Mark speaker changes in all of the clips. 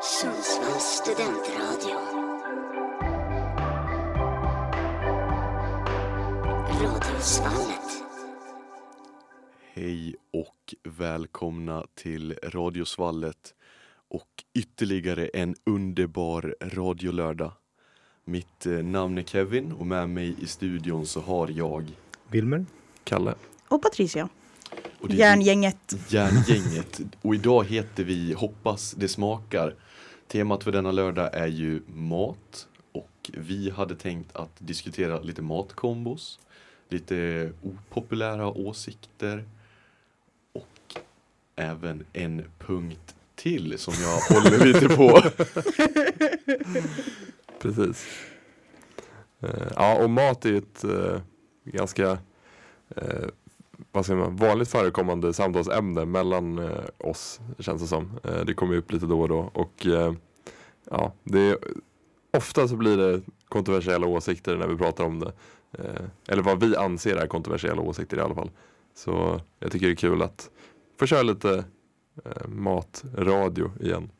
Speaker 1: Sundsvalls studentradio. Radiosvallet.
Speaker 2: Hej och välkomna till Radiosvallet och ytterligare en underbar radiolördag. Mitt eh, namn är Kevin och med mig i studion så har jag
Speaker 3: Wilmer?
Speaker 2: Kalle.
Speaker 4: Och Patricia.
Speaker 2: Och det är
Speaker 4: Järngänget.
Speaker 2: Järngänget. Och idag heter vi Hoppas det smakar. Temat för denna lördag är ju mat. Och vi hade tänkt att diskutera lite matkombos. Lite opopulära åsikter. Och även en punkt till som jag håller lite på.
Speaker 5: Precis. Eh, Ja, och mat är ju ett eh, ganska eh, vad säger man, vanligt förekommande samtalsämne mellan eh, oss, känns det som. Eh, det kommer ju upp lite då och då. Och, eh, ja, det är, ofta så blir det kontroversiella åsikter när vi pratar om det. Eh, eller vad vi anser är kontroversiella åsikter i alla fall. Så jag tycker det är kul att få köra lite eh, matradio igen.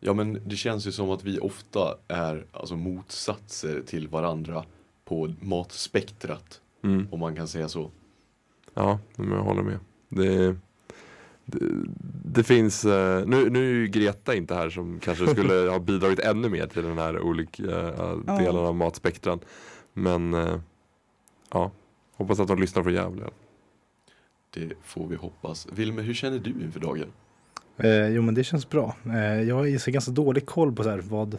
Speaker 2: Ja men det känns ju som att vi ofta är alltså, motsatser till varandra på matspektrat.
Speaker 5: Mm.
Speaker 2: Om man kan säga så.
Speaker 5: Ja, men jag håller med. Det, det, det finns, eh, nu, nu är ju Greta inte här som kanske skulle ha bidragit ännu mer till den här olika eh, delen av matspektran. Men eh, ja, hoppas att de lyssnar från Gävle.
Speaker 2: Det får vi hoppas. Wilmer, hur känner du inför dagen?
Speaker 3: Eh, jo men det känns bra. Eh, jag har ju så ganska dålig koll på så här vad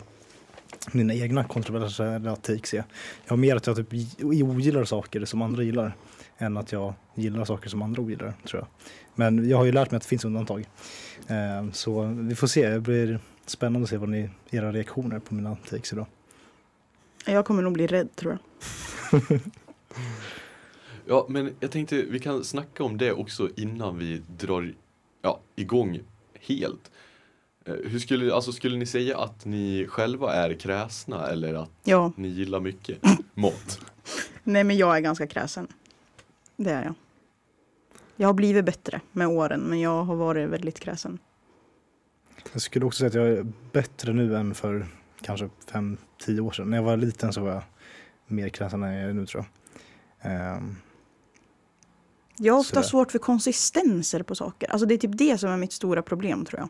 Speaker 3: mina egna kontroversiella takes är. Jag har mer att jag typ gi- ogillar saker som andra gillar än att jag gillar saker som andra ogillar tror jag. Men jag har ju lärt mig att det finns undantag. Eh, så vi får se, det blir spännande att se vad ni, era reaktioner på mina takes idag.
Speaker 4: Jag kommer nog bli rädd tror jag.
Speaker 2: Ja, men jag tänkte vi kan snacka om det också innan vi drar ja, igång helt. Eh, Hur skulle, alltså skulle ni säga att ni själva är kräsna eller att
Speaker 4: Ja,
Speaker 2: ni gillar mycket mat?
Speaker 4: nej men jag är ganska kräsen. Det är jag. Jag har blivit bättre med åren men jag har varit väldigt kräsen.
Speaker 3: Jag skulle också säga att jag är bättre nu än för kanske 5-10 år sedan. När jag var liten så var jag mer kräsen än jag är nu tror jag. Ehm,
Speaker 4: Jag har ofta
Speaker 3: Sådär.
Speaker 4: svårt för konsistenser på saker. Alltså det är typ det som är mitt stora problem tror jag.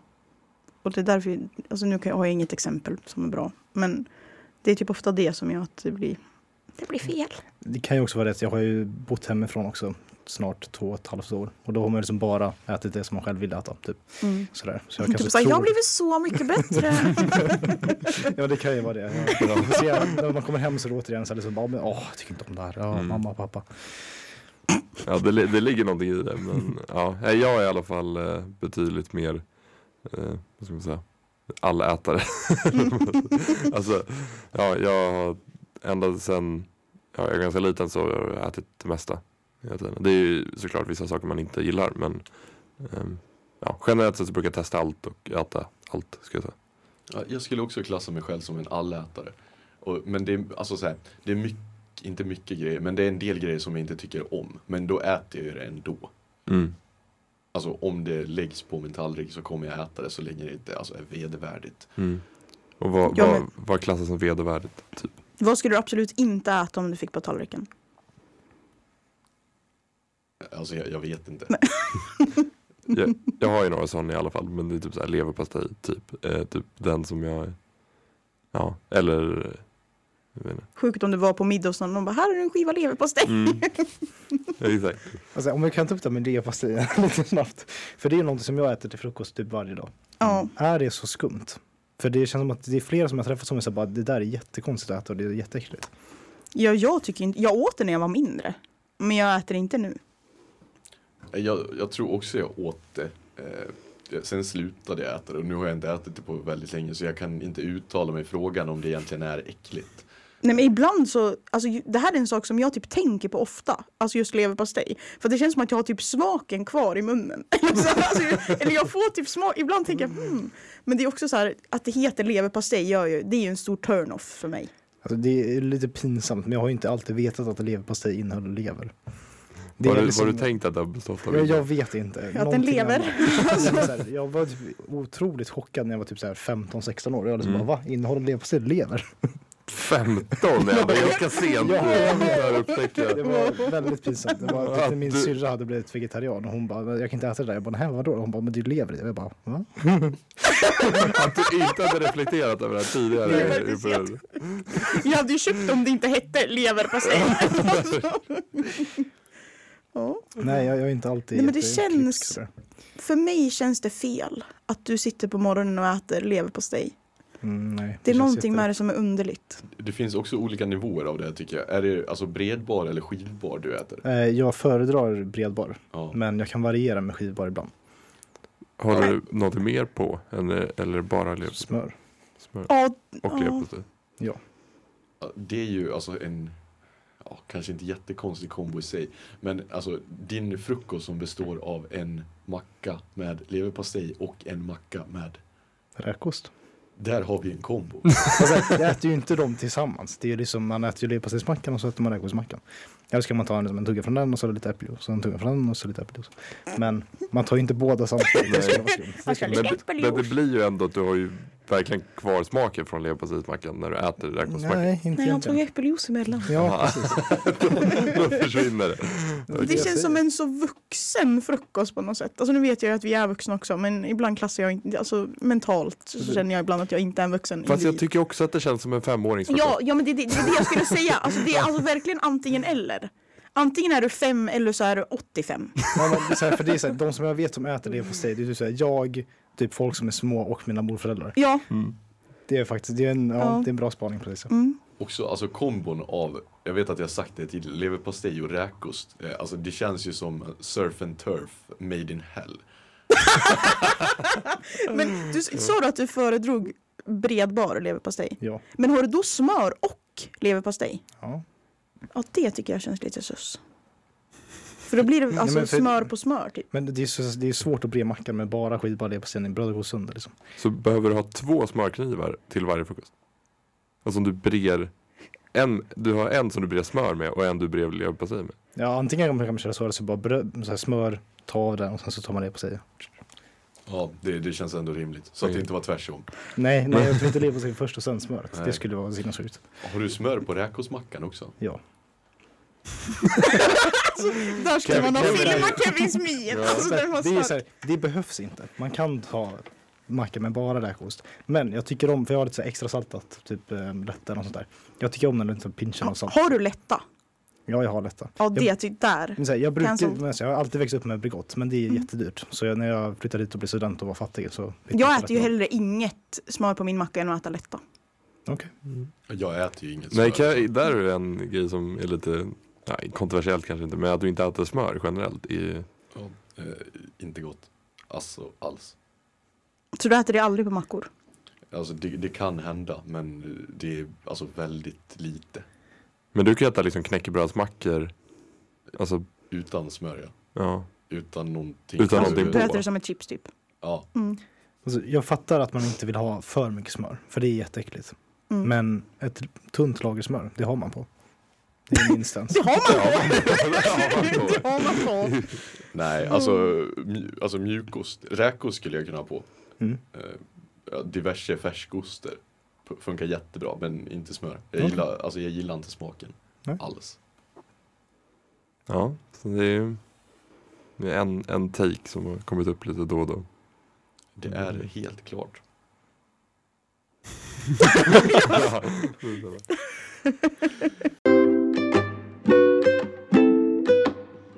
Speaker 4: Och det är därför, alltså nu kan jag, har jag inget exempel som är bra. Men det är typ ofta det som gör att det blir, det blir fel.
Speaker 3: Det kan ju också vara rätt. Jag har ju bott hemifrån också snart två och ett halvt år. Och då har man ju liksom bara ätit det som man själv vill äta. Typ.
Speaker 4: Mm.
Speaker 3: Sådär. Så
Speaker 4: Jag,
Speaker 3: jag kanske
Speaker 4: typ såhär, jag har
Speaker 3: tror...
Speaker 4: blivit så mycket bättre.
Speaker 3: Ja det kan ju vara det. Ja. Vi får se. När man kommer hem så är det återigen så här liksom, bara, men, åh, jag tycker inte om det här. Ja,
Speaker 5: Mm.
Speaker 3: Mamma, pappa.
Speaker 5: Ja, det, li- det ligger någonting i det. Men, ja, nej, jag är i alla fall eh, betydligt mer, eh, vad ska man säga, allätare. alltså, ja, jag har ända sedan ja, jag är ganska liten så har jag ätit det mesta. hela tiden. Det är ju såklart vissa saker man inte gillar men ehm, ja, generellt sett så brukar jag testa allt och äta allt. Ska jag säga.
Speaker 2: Ja, Jag skulle också klassa mig själv som en allätare. Och, men det är, alltså så här, det är mycket, inte mycket grejer, men det är en del grejer som jag inte tycker om. Men då äter jag ju det ändå. Alltså om det läggs på min tallrik så kommer jag äta det så länge det inte alltså, är vedervärdigt.
Speaker 5: Och vad,
Speaker 4: Ja,
Speaker 5: vad,
Speaker 4: men-
Speaker 5: vad klassas som vedervärdigt? Typ?
Speaker 4: Vad skulle du absolut inte äta om du fick på tallriken?
Speaker 2: Alltså jag, jag vet inte.
Speaker 5: jag, jag har ju några sådana i alla fall, men det är typ så här leverpastej, typ. Eh, typ den som jag, ja, eller, eh, jag vet inte.
Speaker 4: Sjukt om du var på middag och någon bara, här är en skiva leverpastej.
Speaker 5: Mm. Ja, Exakt.
Speaker 3: Alltså, om vi kan ta upp det med leverpastejen lite snabbt. För det är ju någonting som jag äter till frukost typ varje dag.
Speaker 4: Ja,
Speaker 3: Är det så skumt? För det känns som att det är flera som jag träffat som är så här, bara, det där är jättekonstigt att äta och det är jätteäckligt.
Speaker 4: ja jag, tycker inte, jag åt det när jag var mindre. Men jag äter inte nu.
Speaker 2: Eh, Jag, jag tror också jag åt det. Eh, sen slutade jag äta det och nu har jag inte ätit det på väldigt länge så jag kan inte uttala mig i frågan om det egentligen är äckligt.
Speaker 4: Nej men ibland så, alltså ju- det här är en sak som jag typ tänker på ofta. Alltså just leverpastej. För det känns som att jag har typ smaken kvar i munnen. alltså, alltså, eller jag får typ smak, ibland tänker jag hmm. Men det är också så här, att det heter leverpastej gör ju, det är ju en stor turn-off för mig.
Speaker 3: Alltså, det är lite pinsamt men jag har ju inte alltid vetat att leverpastej innehåller lever. Det
Speaker 5: Vad
Speaker 3: är
Speaker 5: har
Speaker 3: liksom-
Speaker 5: du tänkt att det har bestått av?
Speaker 3: Jag, jag vet inte.
Speaker 4: den
Speaker 3: Någonting
Speaker 4: lever.
Speaker 3: annat. Jag var så här, Jag var typ otroligt chockad när jag var typ så här 15-16 år. Jag liksom
Speaker 5: Mm.
Speaker 3: bara, va? Innehållet leverpastej lever?
Speaker 5: 15 är det ganska sent.
Speaker 3: Ja.
Speaker 5: Jag upptäckte
Speaker 3: Det var väldigt pinsamt. Det var typ när min syrra hade blivit vegetarian och hon bara, "Men jag kan inte äta det där. Jag bara, nej vadå? Hon bara, men du lever i det. Jag bara,
Speaker 4: Mm.
Speaker 3: va?
Speaker 5: att du Typ inte hade reflekterat över det här tidigare.
Speaker 4: Det är faktiskt jätte- Jag hade ju köpt om det inte hette leverpastej. ja.
Speaker 3: Nej, jag, jag är inte alltid
Speaker 4: Nej, men det
Speaker 3: jätteklick
Speaker 4: känns-
Speaker 3: sådär.
Speaker 4: För mig känns det fel att du sitter på morgonen och äter leverpastej.
Speaker 3: Mm, nej,
Speaker 4: Det är
Speaker 3: känns
Speaker 4: någonting
Speaker 3: jätte-
Speaker 4: med det som är underligt.
Speaker 2: Det finns också olika nivåer av det här, tycker jag. Är det alltså bredbar eller skivbar du äter?
Speaker 3: Eh, Jag föredrar bredbar,
Speaker 2: Ja.
Speaker 3: men jag kan variera med skivbar ibland.
Speaker 5: Har du något mer på? än- Eller bara leverpastej?
Speaker 3: Smör.
Speaker 5: Smör
Speaker 4: Ja,
Speaker 5: och leverpastej?
Speaker 2: Det är ju alltså en, ja, kanske inte jättekonstig kombo i sig, men alltså din frukost som består av en macka med leverpastej och en macka med,
Speaker 3: Räkost.
Speaker 2: där har vi en kombo.
Speaker 3: Alltså, jag äter ju inte dem tillsammans. Det är ju liksom, man äter ju leverpastejsmackan och så äter man räkmackan. Eller ska man ta en, liksom, en tugga från den och så lite äppeljuice. Och så en tugga från den och så lite äppeljuice. Men man tar ju inte båda samtidigt. Det skulle vara skumt.
Speaker 4: Man ska
Speaker 5: Men,
Speaker 4: lite
Speaker 5: men det
Speaker 4: äppeljuice.
Speaker 5: blir ju ändå att du har ju verkligen kvar smaken från leverpastejsmackan när du äter räkmackan.
Speaker 3: Nej, inte
Speaker 4: Nej, han tog
Speaker 3: egentligen.
Speaker 4: äppeljuice emellan.
Speaker 3: Ja, precis.
Speaker 5: Då försvinner det.
Speaker 4: Det känns som en så vuxen frukost på något sätt. Alltså nu vet jag ju att vi är vuxna också men ibland klassar jag inte, alltså mentalt så känner jag ibland att jag inte är en vuxen
Speaker 5: Fast jag
Speaker 4: individ.
Speaker 5: tycker också att det känns som en femåringsfrukost.
Speaker 4: Ja, ja men det är det, det, är det jag skulle säga. Alltså det är alltså verkligen antingen eller. Antingen är du fem eller så är du 85.
Speaker 3: Ja, men det är så här, för det är så här, de som jag vet som äter leverpastej, det är typ så här, jag, typ folk som är små och mina morföräldrar.
Speaker 4: Ja.
Speaker 5: "Mm,
Speaker 3: Det är faktiskt, det är en, ja,
Speaker 4: Ja.
Speaker 3: Det är en bra spaning precis.
Speaker 4: Mm.
Speaker 2: Också alltså kombon av, jag vet att jag sagt det till leverpastej och räkost, eh, alltså det känns ju som surf and turf made in hell.
Speaker 4: Men du s- sa du att du föredrog bredbar leverpastej.
Speaker 3: Ja.
Speaker 4: Men har du då smör och leverpastej?
Speaker 3: ja.
Speaker 4: Ja det tycker jag känns lite sus. För då blir det alltså
Speaker 3: men för-
Speaker 4: smör på smör typ.
Speaker 3: Men det är, så, det är svårt att bre mackan med bara skivbar leverpastej. Brödet går sönder liksom.
Speaker 5: Så behöver du ha två smörknivar till varje frukost. Alltså om du brer en, du har en som du brer smör med och en du brer leverpastej med.
Speaker 3: Ja, antingen kan man, kan man köra så, eller så bara bröd, så här smör, ta av den och sen så tar man det på sig.
Speaker 2: Ja, det, det känns ändå rimligt. Så
Speaker 5: Mm.
Speaker 2: att det inte var tvärtom.
Speaker 3: Nej, nej, jag vill inte leva sig först och sen smöret. Det skulle vara sinnessjukt.
Speaker 2: Har du smör på räkosmackan också?
Speaker 3: Ja.
Speaker 4: Där skulle
Speaker 5: Kevin-
Speaker 4: man ha
Speaker 5: Kevin-
Speaker 4: filmat Kevins min. Alltså,
Speaker 3: det,
Speaker 4: den var
Speaker 3: är så
Speaker 4: stark.
Speaker 3: här, det behövs inte. Man kan ta macka med bara räkost. Men jag tycker om, för jag har lite så här extra saltat, typ eh, lätta och sånt där. Jag tycker om när det inte pinchen och salt.
Speaker 4: Har du lätta?
Speaker 3: Ja, jag har lätta.
Speaker 4: Ja
Speaker 3: Jag-
Speaker 4: det typ
Speaker 3: Men
Speaker 4: där.
Speaker 3: Mm. så här, jag, brukar,
Speaker 4: Cancel. Mm.
Speaker 3: men så här, jag har alltid växt upp med Bregott, men det är jättedyrt. Så jag, när jag flyttade hit och blev student och var fattig så... fick
Speaker 4: Jag
Speaker 3: inte
Speaker 4: äter ju
Speaker 3: lätta.
Speaker 4: hellre inget smör på min macka än att äta lätta.
Speaker 3: Okej.
Speaker 2: Jag äter ju inget smör.
Speaker 5: Nej, kan, där är en grej som är lite nej, kontroversiellt kanske inte, men att du inte äter smör generellt. I,
Speaker 2: Ja, eh, inte gott. Alltså, alls.
Speaker 4: Så du äter det aldrig på mackor?
Speaker 2: Alltså, det, det kan hända, men det är alltså väldigt lite.
Speaker 5: men du kan ju äta liksom knäckebrödsmackor. Alltså,
Speaker 2: Utan smör, ja.
Speaker 5: ja.
Speaker 2: Utan någonting.
Speaker 5: Utan
Speaker 2: Alltså,
Speaker 5: någonting
Speaker 4: Du
Speaker 5: på.
Speaker 4: äter det som ett chips typ?
Speaker 2: Ja.
Speaker 4: Mm.
Speaker 3: Alltså, jag fattar att man inte vill ha för mycket smör, för det är jätteäckligt.
Speaker 4: Mm.
Speaker 3: Men ett tunt lager smör, det har man på. Det är min instans.
Speaker 4: Det har man på!
Speaker 5: Ja,
Speaker 4: Det har man på!
Speaker 2: Nej, alltså, mj- alltså mjukost. Räkost skulle jag kunna ha på.
Speaker 3: Mm.
Speaker 2: Eh, ja, diverse färskoster. P- Funkar jättebra, men inte smör. Jag,
Speaker 3: Okej.
Speaker 2: gillar, alltså, jag gillar inte smaken.
Speaker 3: Nej.
Speaker 2: Alls.
Speaker 5: ja så det är ju det är en, en take som har kommit upp lite då och då.
Speaker 2: Det är helt klart.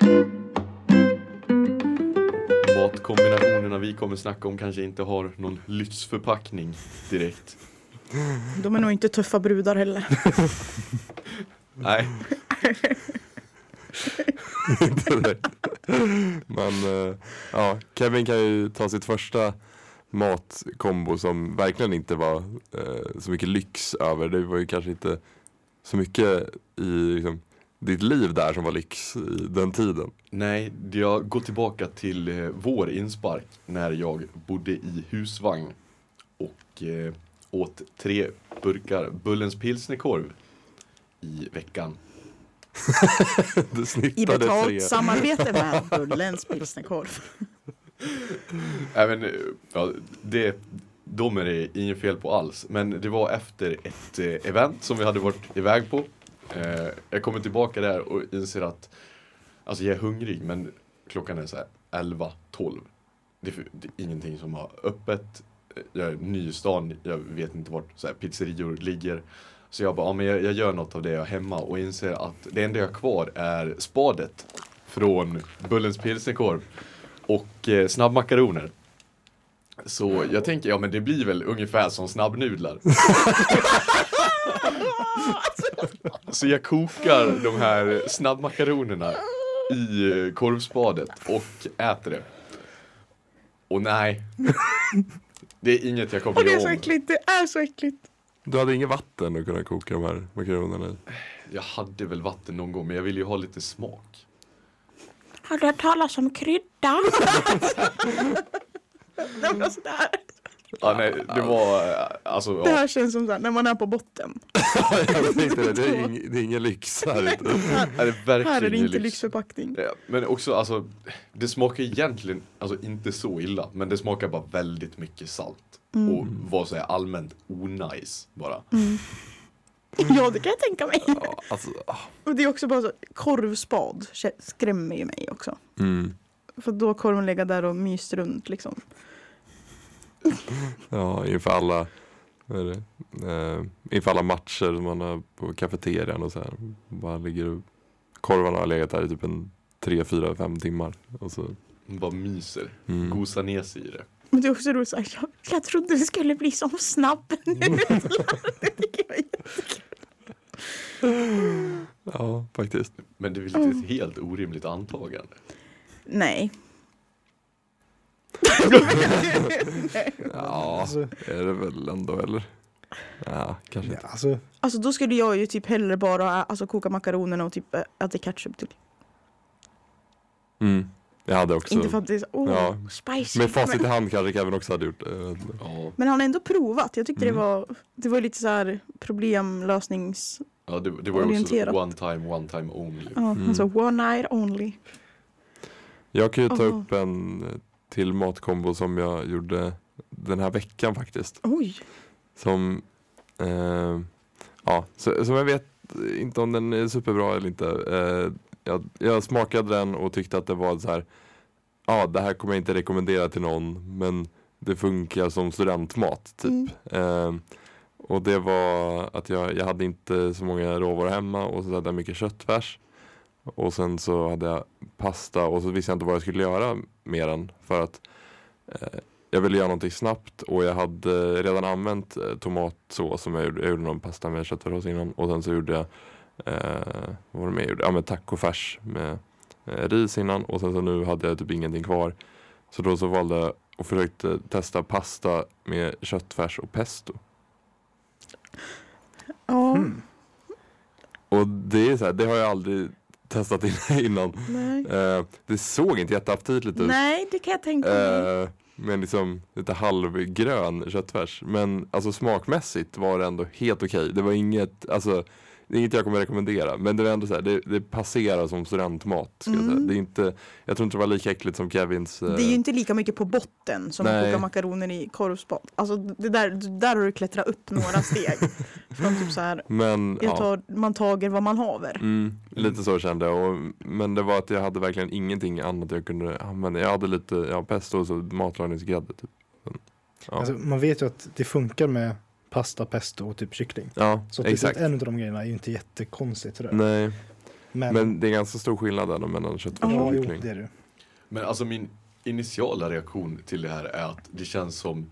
Speaker 2: Matkombinationerna vi kommer snacka om kanske inte har någon lyxförpackning direkt.
Speaker 4: De är nog inte tuffa brudar heller.
Speaker 2: Nej,
Speaker 5: Inte direkt. Men eh, ja, Kevin kan ju ta sitt första matkombo som verkligen inte var eh, så mycket lyx över. Det var ju kanske inte så mycket i liksom, ditt liv där som var lyx i den tiden.
Speaker 2: nej, jag går tillbaka till eh, vår inspark när jag bodde i husvagn och eh, åt tre burkar Bullens pilsnerkorv i veckan.
Speaker 5: Du
Speaker 4: I
Speaker 5: snittade tre.
Speaker 4: betalt samarbete med Bullens pilsnerkorv.
Speaker 2: Även, eh, ja, det, de är det inget fel på alls. Men det var efter ett eh, event som vi hade varit iväg på. Eh, jag kommer tillbaka där och inser att alltså jag är hungrig men klockan är så här 11, 12. Det är, för- det är ingenting som har öppet. Eh, Jag är ny i stan, jag vet inte vart så här, pizzerior ligger. Så jag bara, ja, men jag, jag gör något av det jag har hemma och inser att det enda jag har kvar är spadet från Bullens pilsnerkorv och eh, snabbmakaroner. Så jag tänker, ja men det blir väl ungefär som snabbnudlar. Så jag kokar de här snabbmakaronerna i eh, korvspadet och äter det. Och nej, det är inget jag kommer
Speaker 4: Och det är
Speaker 2: att
Speaker 4: så
Speaker 2: göra om.
Speaker 4: äckligt, det är så äckligt.
Speaker 5: Du hade inget vatten att kunna koka de här makaronerna i.
Speaker 2: Jag hade väl vatten någon gång men jag ville ju ha lite smak.
Speaker 4: Har du hört talas om krydda? Nej, men alltså det, här,
Speaker 2: Ja, nej, det var eh, alltså,
Speaker 4: det
Speaker 2: ja.
Speaker 4: här känns som så här, när man är på botten.
Speaker 5: Jag tänkte det, det är, ing, det är ingen lyx här ute.
Speaker 2: Är det verkligen
Speaker 4: Här är det inte
Speaker 2: lyx?
Speaker 4: lyxförpackning.
Speaker 2: Ja, Men också alltså, det smakar egentligen alltså, inte så illa, men det smakar bara väldigt mycket salt.
Speaker 4: Mm.
Speaker 2: Och vad säger jag, allmänt onajs bara.
Speaker 4: Ja, det kan jag tänka mig.
Speaker 5: Ja, alltså, ah.
Speaker 4: Och det är också bara så, korvspad kä- skrämmer ju mig också.
Speaker 5: mm.
Speaker 4: För då har korven legat där och myst runt liksom.
Speaker 5: Ja, inför alla, vad är det? Eh, inför alla matcher som man har på kafeterian och så här. Bara ligger och, korvarna har legat där i typ en tre, fyra, fem timmar. Och så,
Speaker 2: Man bara myser,
Speaker 5: mm.
Speaker 2: gosar ner sig i det.
Speaker 4: Men det är också roligt såhär, jag, jag trodde vi skulle bli som snabb nu. det tycker jag är-
Speaker 5: Ja, faktiskt.
Speaker 2: Men det är väl
Speaker 4: Mm.
Speaker 2: inte ett helt orimligt antagande.
Speaker 4: Nej.
Speaker 5: Ja,
Speaker 3: Alltså,
Speaker 5: är det väl ändå eller? Ja, kanske
Speaker 3: ja,
Speaker 5: inte.
Speaker 3: alltså,
Speaker 4: Alltså då skulle jag ju typ hellre bara alltså, koka makaronerna och typ ä- äta ketchup till.
Speaker 5: Mm. Jag hade också,
Speaker 4: Inte för att det är så, åh,
Speaker 5: Ja.
Speaker 4: spicy.
Speaker 5: med facit i
Speaker 4: men,
Speaker 5: hand kanske Kevin också hade gjort. eh, jag vet inte.
Speaker 2: Ja,
Speaker 4: men han har ändå provat. Jag tyckte
Speaker 5: Mm.
Speaker 4: det var, det var lite så här problemlösnings...
Speaker 2: ja det, det var ju också
Speaker 4: Orienterat.
Speaker 2: one time, one time only.
Speaker 4: Ja,
Speaker 5: Mm.
Speaker 4: Alltså one night only.
Speaker 5: Jag kan ju ta
Speaker 4: Aha.
Speaker 5: upp en eh, till matkombo som jag gjorde den här veckan faktiskt.
Speaker 4: Oj.
Speaker 5: Som, eh, ja, så, som jag vet inte om den är superbra eller inte. Eh, jag, jag smakade den och tyckte att det var så här, ja det här kommer jag inte rekommendera till någon men det funkar som studentmat typ.
Speaker 4: Mm.
Speaker 5: Eh, och det var att jag, jag hade inte så många råvaror hemma och så hade jag mycket köttfärs. Och sen så hade jag pasta och så visste jag inte vad jag skulle göra med den. För att eh, jag ville göra någonting snabbt och jag hade redan använt eh, tomatsås som jag gjorde. Jag gjorde någon pasta med köttfärssås innan och sen så gjorde jag eh, vad var det mer jag gjorde? Ja men tacofärs med eh, ris innan och sen så nu hade jag typ ingenting kvar. Så då så valde jag och försökte testa pasta med köttfärs och pesto.
Speaker 4: Ja,
Speaker 5: Hmm. Och det är så här, det har jag aldrig testat in- innan.
Speaker 4: nej.
Speaker 5: Eh, det såg inte jätteaptitligt ut.
Speaker 4: Nej, det kan jag tänka mig.
Speaker 5: Eh, men liksom lite halvgrön köttfärs. Men alltså smakmässigt var det ändå helt okej. Det var inget, alltså det är inget jag kommer rekommendera. Men det var ändå så här, det, det passerar som studentmat. Ska jag, säga.
Speaker 4: Mm.
Speaker 5: Det är inte, jag tror inte det var lika äckligt som Kevins. eh,
Speaker 4: Det är ju inte lika mycket på botten som att
Speaker 5: Nej.
Speaker 4: koka makaroner i korvspad. Alltså det där, där har du klättrat upp några steg. Från typ så här,
Speaker 5: men,
Speaker 4: jag
Speaker 5: ja.
Speaker 4: tar, man tager vad man haver.
Speaker 5: Mm, lite så kände jag. Och, men det var att jag hade verkligen ingenting annat jag kunde använda. Jag hade lite ja, pesto och så matlagningsgrädde. Typ. Men, ja,
Speaker 3: alltså, man vet ju att det funkar med pasta, pesto och typ kyckling.
Speaker 5: ja
Speaker 3: Så att
Speaker 5: exakt.
Speaker 3: det, en av de grejerna är ju inte jättekonstigt. sådär.
Speaker 5: Nej,
Speaker 3: Men,
Speaker 5: men det är ganska stor skillnad ändå mellan köttfärs
Speaker 3: ja,
Speaker 5: och
Speaker 3: jo,
Speaker 5: kyckling.
Speaker 3: det är det.
Speaker 2: Men alltså min initiala reaktion till det här är att det känns som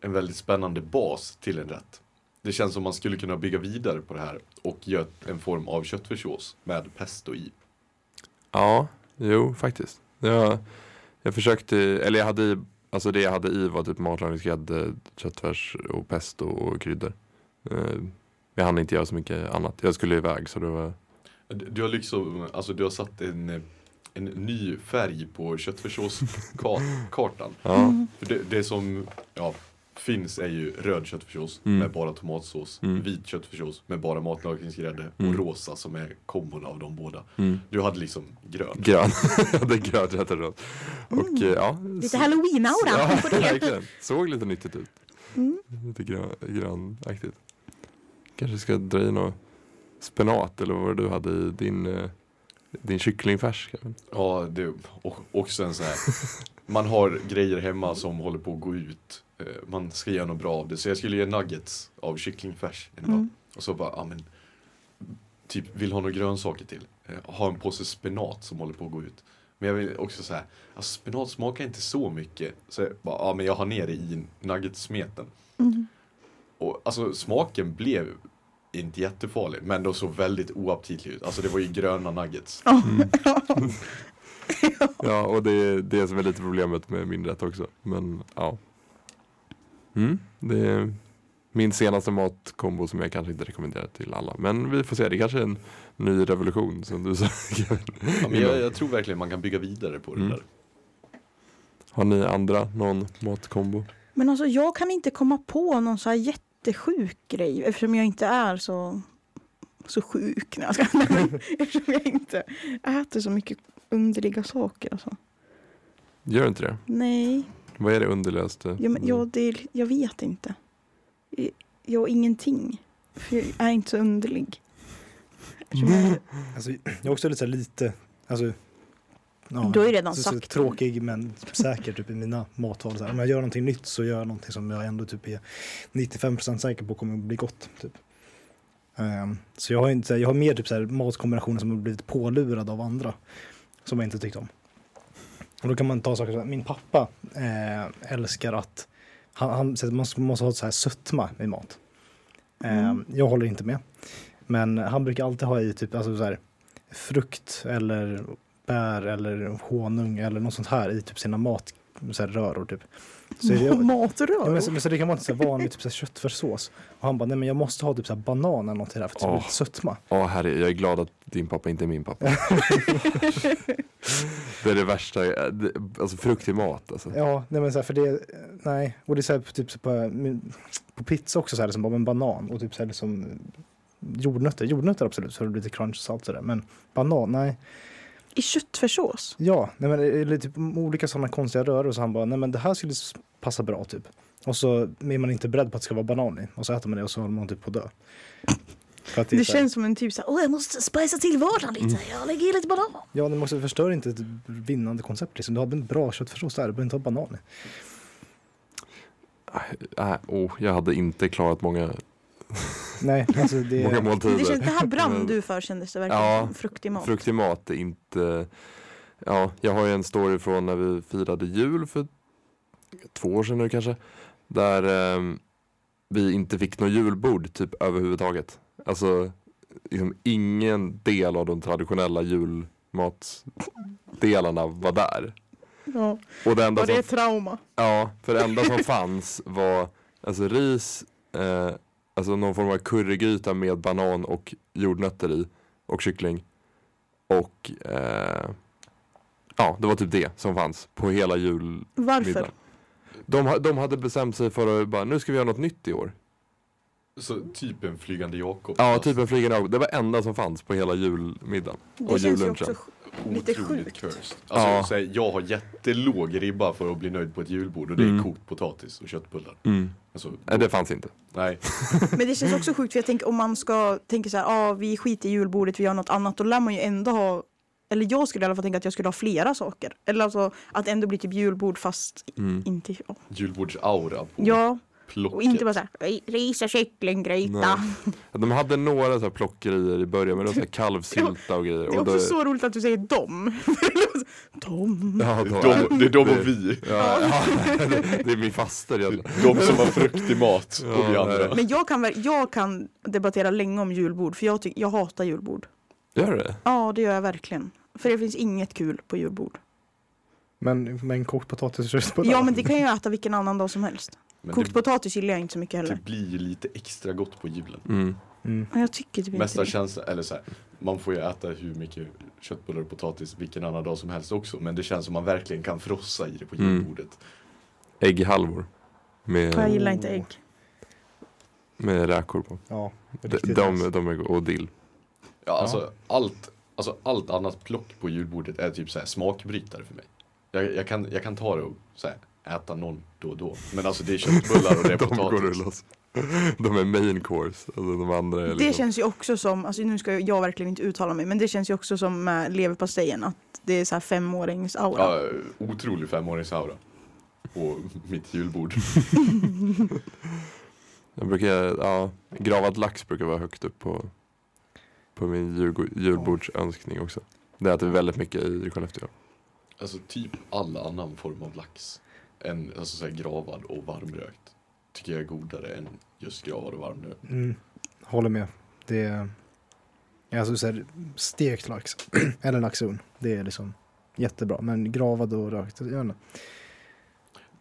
Speaker 2: en väldigt spännande bas till en rätt. Det känns som man skulle kunna bygga vidare på det här och göra en form av köttfärssås med pesto i.
Speaker 5: Ja, jo faktiskt. Jag, jag försökte, eller jag hade i, alltså det jag hade i var typ matlagningsgrädde, köttfärs och pesto och kryddor. Eh, Jag hann inte göra så mycket annat. Jag skulle iväg så det var,
Speaker 2: Du du har liksom, alltså du har satt en, eh, en ny färg på köttfärssåskartan.
Speaker 5: ja.
Speaker 3: Mm.
Speaker 2: För det, det är som, ja, finns är ju röd köttfärssås
Speaker 5: Mm.
Speaker 2: med bara tomatsås,
Speaker 5: Mm.
Speaker 2: vit köttfärssås med bara matlagringsgrädde
Speaker 5: Mm.
Speaker 2: och rosa som är kombon av de båda.
Speaker 5: Mm.
Speaker 2: Du hade liksom grön.
Speaker 5: Grön. det är grönt rätt och rött. Och
Speaker 3: Mm.
Speaker 5: eh, ja.
Speaker 4: Lite
Speaker 5: så-
Speaker 4: halloween-aura
Speaker 5: Ja,
Speaker 4: på det.
Speaker 5: verkligen. Såg lite nyttigt ut.
Speaker 4: Mm.
Speaker 5: Lite grön, grönaktigt. Kanske ska dra i något spenat eller vad du hade i din, eh, din kycklingfärs. Kevin.
Speaker 2: Ja, det, och, och sen så här. Man har grejer hemma som håller på att gå ut. Eh, Man ska göra något bra av det. Så jag skulle göra nuggets av kycklingfärs. en dag.
Speaker 4: Mm.
Speaker 2: Och så bara, ja men. Typ vill ha några grönsaker till. Eh, Ha en påse spenat som håller på att gå ut. Men jag vill också säga, alltså spenat smakar inte så mycket. Så jag bara, ja men jag har ner det i nuggetsmeten.
Speaker 4: Mm.
Speaker 2: Och alltså smaken blev inte jättefarlig. Men de såg väldigt oaptitlig ut. Alltså det var ju gröna nuggets.
Speaker 5: Ja, och det är det som är lite problemet med min rätt också. Men ja. Mm, det är min senaste matkombo som jag kanske inte rekommenderar till alla. Men vi får se, det kanske är en ny revolution som du sa Kevin.
Speaker 2: Ja, men jag, jag tror verkligen man kan bygga vidare på det
Speaker 5: Mm.
Speaker 2: där.
Speaker 5: Har ni andra någon matkombo?
Speaker 4: Men alltså jag kan inte komma på någon så här jättesjuk grej eftersom jag inte är så, så sjuk. När jag ska, Nej, men eftersom jag inte äter så mycket underliga saker. Alltså.
Speaker 5: Gör inte det?
Speaker 4: Nej,
Speaker 5: Vad är det underligaste?
Speaker 4: ja, men, ja, det, är- jag vet inte. Jag- Jag ingenting. För jag är inte så underlig. Eftersom jag-
Speaker 3: Alltså, jag är också lite, så här lite alltså, ja,
Speaker 4: Du har ju redan
Speaker 3: så, så
Speaker 4: sagt.
Speaker 3: tråkig men säker typ, i mina matval. Så här. Om jag gör någonting nytt så gör jag någonting som jag ändå typ är 95% säker på kommer att bli gott. Typ. Ehm, så jag har, inte, så här, jag har mer typ, så här, matkombinationer som har blivit pålurade av andra som jag inte tyckt om. Och då kan man ta saker som min pappa eh, älskar att han, han, så att man måste ha så här sötma i mat. Ehm,
Speaker 4: Mm.
Speaker 3: Jag håller inte med. Men han brukar alltid ha i typ alltså så här, frukt eller bär eller honung eller något sånt här i typ sina mat, så här, röror typ. Så är det, Ja,
Speaker 4: Matrör?
Speaker 3: men, så, men så det kan vara inte så här vanlig typ så här köttfärssås. Och han bara, nej men jag måste ha typ så här banan eller något till det här för att det ska bli
Speaker 5: Åh.
Speaker 3: lite sötma.
Speaker 5: Ja, herre, jag är glad att din pappa inte är min pappa. det är det värsta, eh, det- alltså frukt i mat alltså.
Speaker 3: Ja, nej men så här, för det, nej. Och det är så här typ så på, min- på pizza också så här, liksom, bara med banan och typ så här liksom jordnötter. Jordnötter absolut, så det blir lite crunch och salt sådär. Men banan, nej.
Speaker 4: I köttfärssås?
Speaker 3: Ja, nej men eller typ olika sådana konstiga röror. Så han bara, nej men det här skulle s- passa bra typ. Och så är man inte beredd på att det ska vara banan i. Och så äter man det och så håller man typ på att dö. För att
Speaker 4: Det,
Speaker 3: är så här- Mm.
Speaker 4: känns som en typ såhär, åh jag måste spicea till vardagen lite, jag lägger i lite banan.
Speaker 3: Ja, det måste förstör inte ett vinnande koncept. Liksom. Du hade en bra köttfärssås där, du behöver inte ha banan i.
Speaker 5: Äh, oh, jag hade inte klarat många,
Speaker 3: Nej, alltså
Speaker 5: många
Speaker 3: det...
Speaker 5: måltider.
Speaker 4: Det, känns, det här brann
Speaker 3: Mm.
Speaker 5: Men-
Speaker 4: du för kändes det verkligen
Speaker 5: Ja,
Speaker 4: som frukt i mat.
Speaker 5: Frukt i mat är inte... Ja, jag har ju en story från när vi firade jul för två år sedan nu kanske. Där eh, vi inte fick något julbord typ överhuvudtaget. Alltså liksom ingen del av de traditionella julmatsdelarna var där.
Speaker 4: Ja.
Speaker 5: Och det enda
Speaker 4: Var det
Speaker 5: som
Speaker 4: ett trauma?
Speaker 5: Ja, för det enda som fanns var alltså ris, eh, alltså någon form av currygryta med banan och jordnötter i och kyckling. Och eh, ja, det var typ det som fanns på hela julmiddagen.
Speaker 4: Varför?
Speaker 5: De, ha- de hade bestämt sig för att bara, nu ska vi göra något nytt i år.
Speaker 2: Så typ en flygande Jakob.
Speaker 5: Ja, typ en flygande ögon. Det var det enda som fanns på hela julmiddagen.
Speaker 4: Det
Speaker 5: Och
Speaker 4: känns ju
Speaker 5: jullunchen.
Speaker 4: också sj- lite
Speaker 2: Otroligt
Speaker 4: sjukt.
Speaker 2: cursed. Alltså,
Speaker 5: Ja.
Speaker 2: så här, jag har jättelåg ribba för att bli nöjd på ett julbord och det
Speaker 5: Mm.
Speaker 2: är kokt potatis och köttbullar. Alltså,
Speaker 5: Nej, det fanns inte.
Speaker 2: nej.
Speaker 4: Men det känns också sjukt för jag tänker om man ska tänka så här, ah, vi skiter i julbordet, vi gör något annat, då lär man ju ändå ha eller jag skulle i alla fall tänka att jag skulle ha flera saker. Eller alltså att ändå bli typ julbord fast
Speaker 5: Mm.
Speaker 4: inte... Ja,
Speaker 2: Julbordsaura på
Speaker 4: ja
Speaker 2: plocket.
Speaker 4: och inte bara så här "Ri- ris och kycklinggryta.
Speaker 5: De hade några så här plockerier i början, men det var så här kalvsylta och grejer.
Speaker 4: Det är
Speaker 5: och
Speaker 4: också
Speaker 5: då-
Speaker 4: så roligt att du säger dem. dem.
Speaker 5: Ja, då-
Speaker 2: De, det är de och vi.
Speaker 5: Ja, ja, det, det är min faster. Jag,
Speaker 2: De som har frukt i mat och vi
Speaker 5: Ja,
Speaker 2: andra.
Speaker 4: Men jag kan, väl- jag kan debattera länge om julbord för jag, tycker jag hatar julbord.
Speaker 5: gör du det?
Speaker 4: Ja, det gör jag verkligen. För det finns inget kul på julbord.
Speaker 3: Men, men kokt potatis och köttbullar?
Speaker 4: Ja, men det kan jag äta vilken annan dag som helst.
Speaker 2: Men
Speaker 4: Kokt
Speaker 2: det, typ
Speaker 4: potatis gillar jag inte så mycket heller.
Speaker 2: det blir ju lite extra gott på julen.
Speaker 5: Mm.
Speaker 3: Mm.
Speaker 4: Ja, Jag tycker typ inte
Speaker 2: Mesta
Speaker 4: det.
Speaker 2: känslan, eller så här, man får ju äta hur mycket köttbullar och potatis vilken annan dag som helst också. Men det känns som man verkligen kan frossa i det på
Speaker 5: Mm.
Speaker 2: julbordet.
Speaker 5: Ägghalvor.
Speaker 4: För jag
Speaker 5: Med,
Speaker 4: gillar inte ägg.
Speaker 5: med räkor på.
Speaker 3: Ja,
Speaker 5: De,
Speaker 3: riktigt nice.
Speaker 5: de, de är go- och dill.
Speaker 2: Ja, alltså, allt, alltså allt annat plock på julbordet är typ så här smakbrytare för mig. Jag, jag, kan, jag kan ta det och så här, äta någon då och då. Men alltså det är köttbullar och det är
Speaker 5: De går att
Speaker 2: potatis.
Speaker 5: loss. De är main course. Alltså de andra är
Speaker 4: Det
Speaker 5: liksom,
Speaker 4: känns ju också som, alltså nu ska jag verkligen inte uttala mig, men det känns ju också som med leverpastejen att det är så här femårings-aura.
Speaker 2: Ja, otrolig femåringsaura. På mitt julbord.
Speaker 5: jag brukar, ja, gravad lax brukar vara högt upp på, på min jul, julbordsönskning också. Det äter vi väldigt mycket i Skellefteå.
Speaker 2: Alltså typ all annan form av lax. Än alltså, så här, gravad och varmrökt. Tycker jag är godare än just gravad och varmrökt.
Speaker 3: Mm, håller med. Det är alltså så här, stekt lax eller laxon. Det är liksom jättebra. Men gravad och rökt, jag vet inte.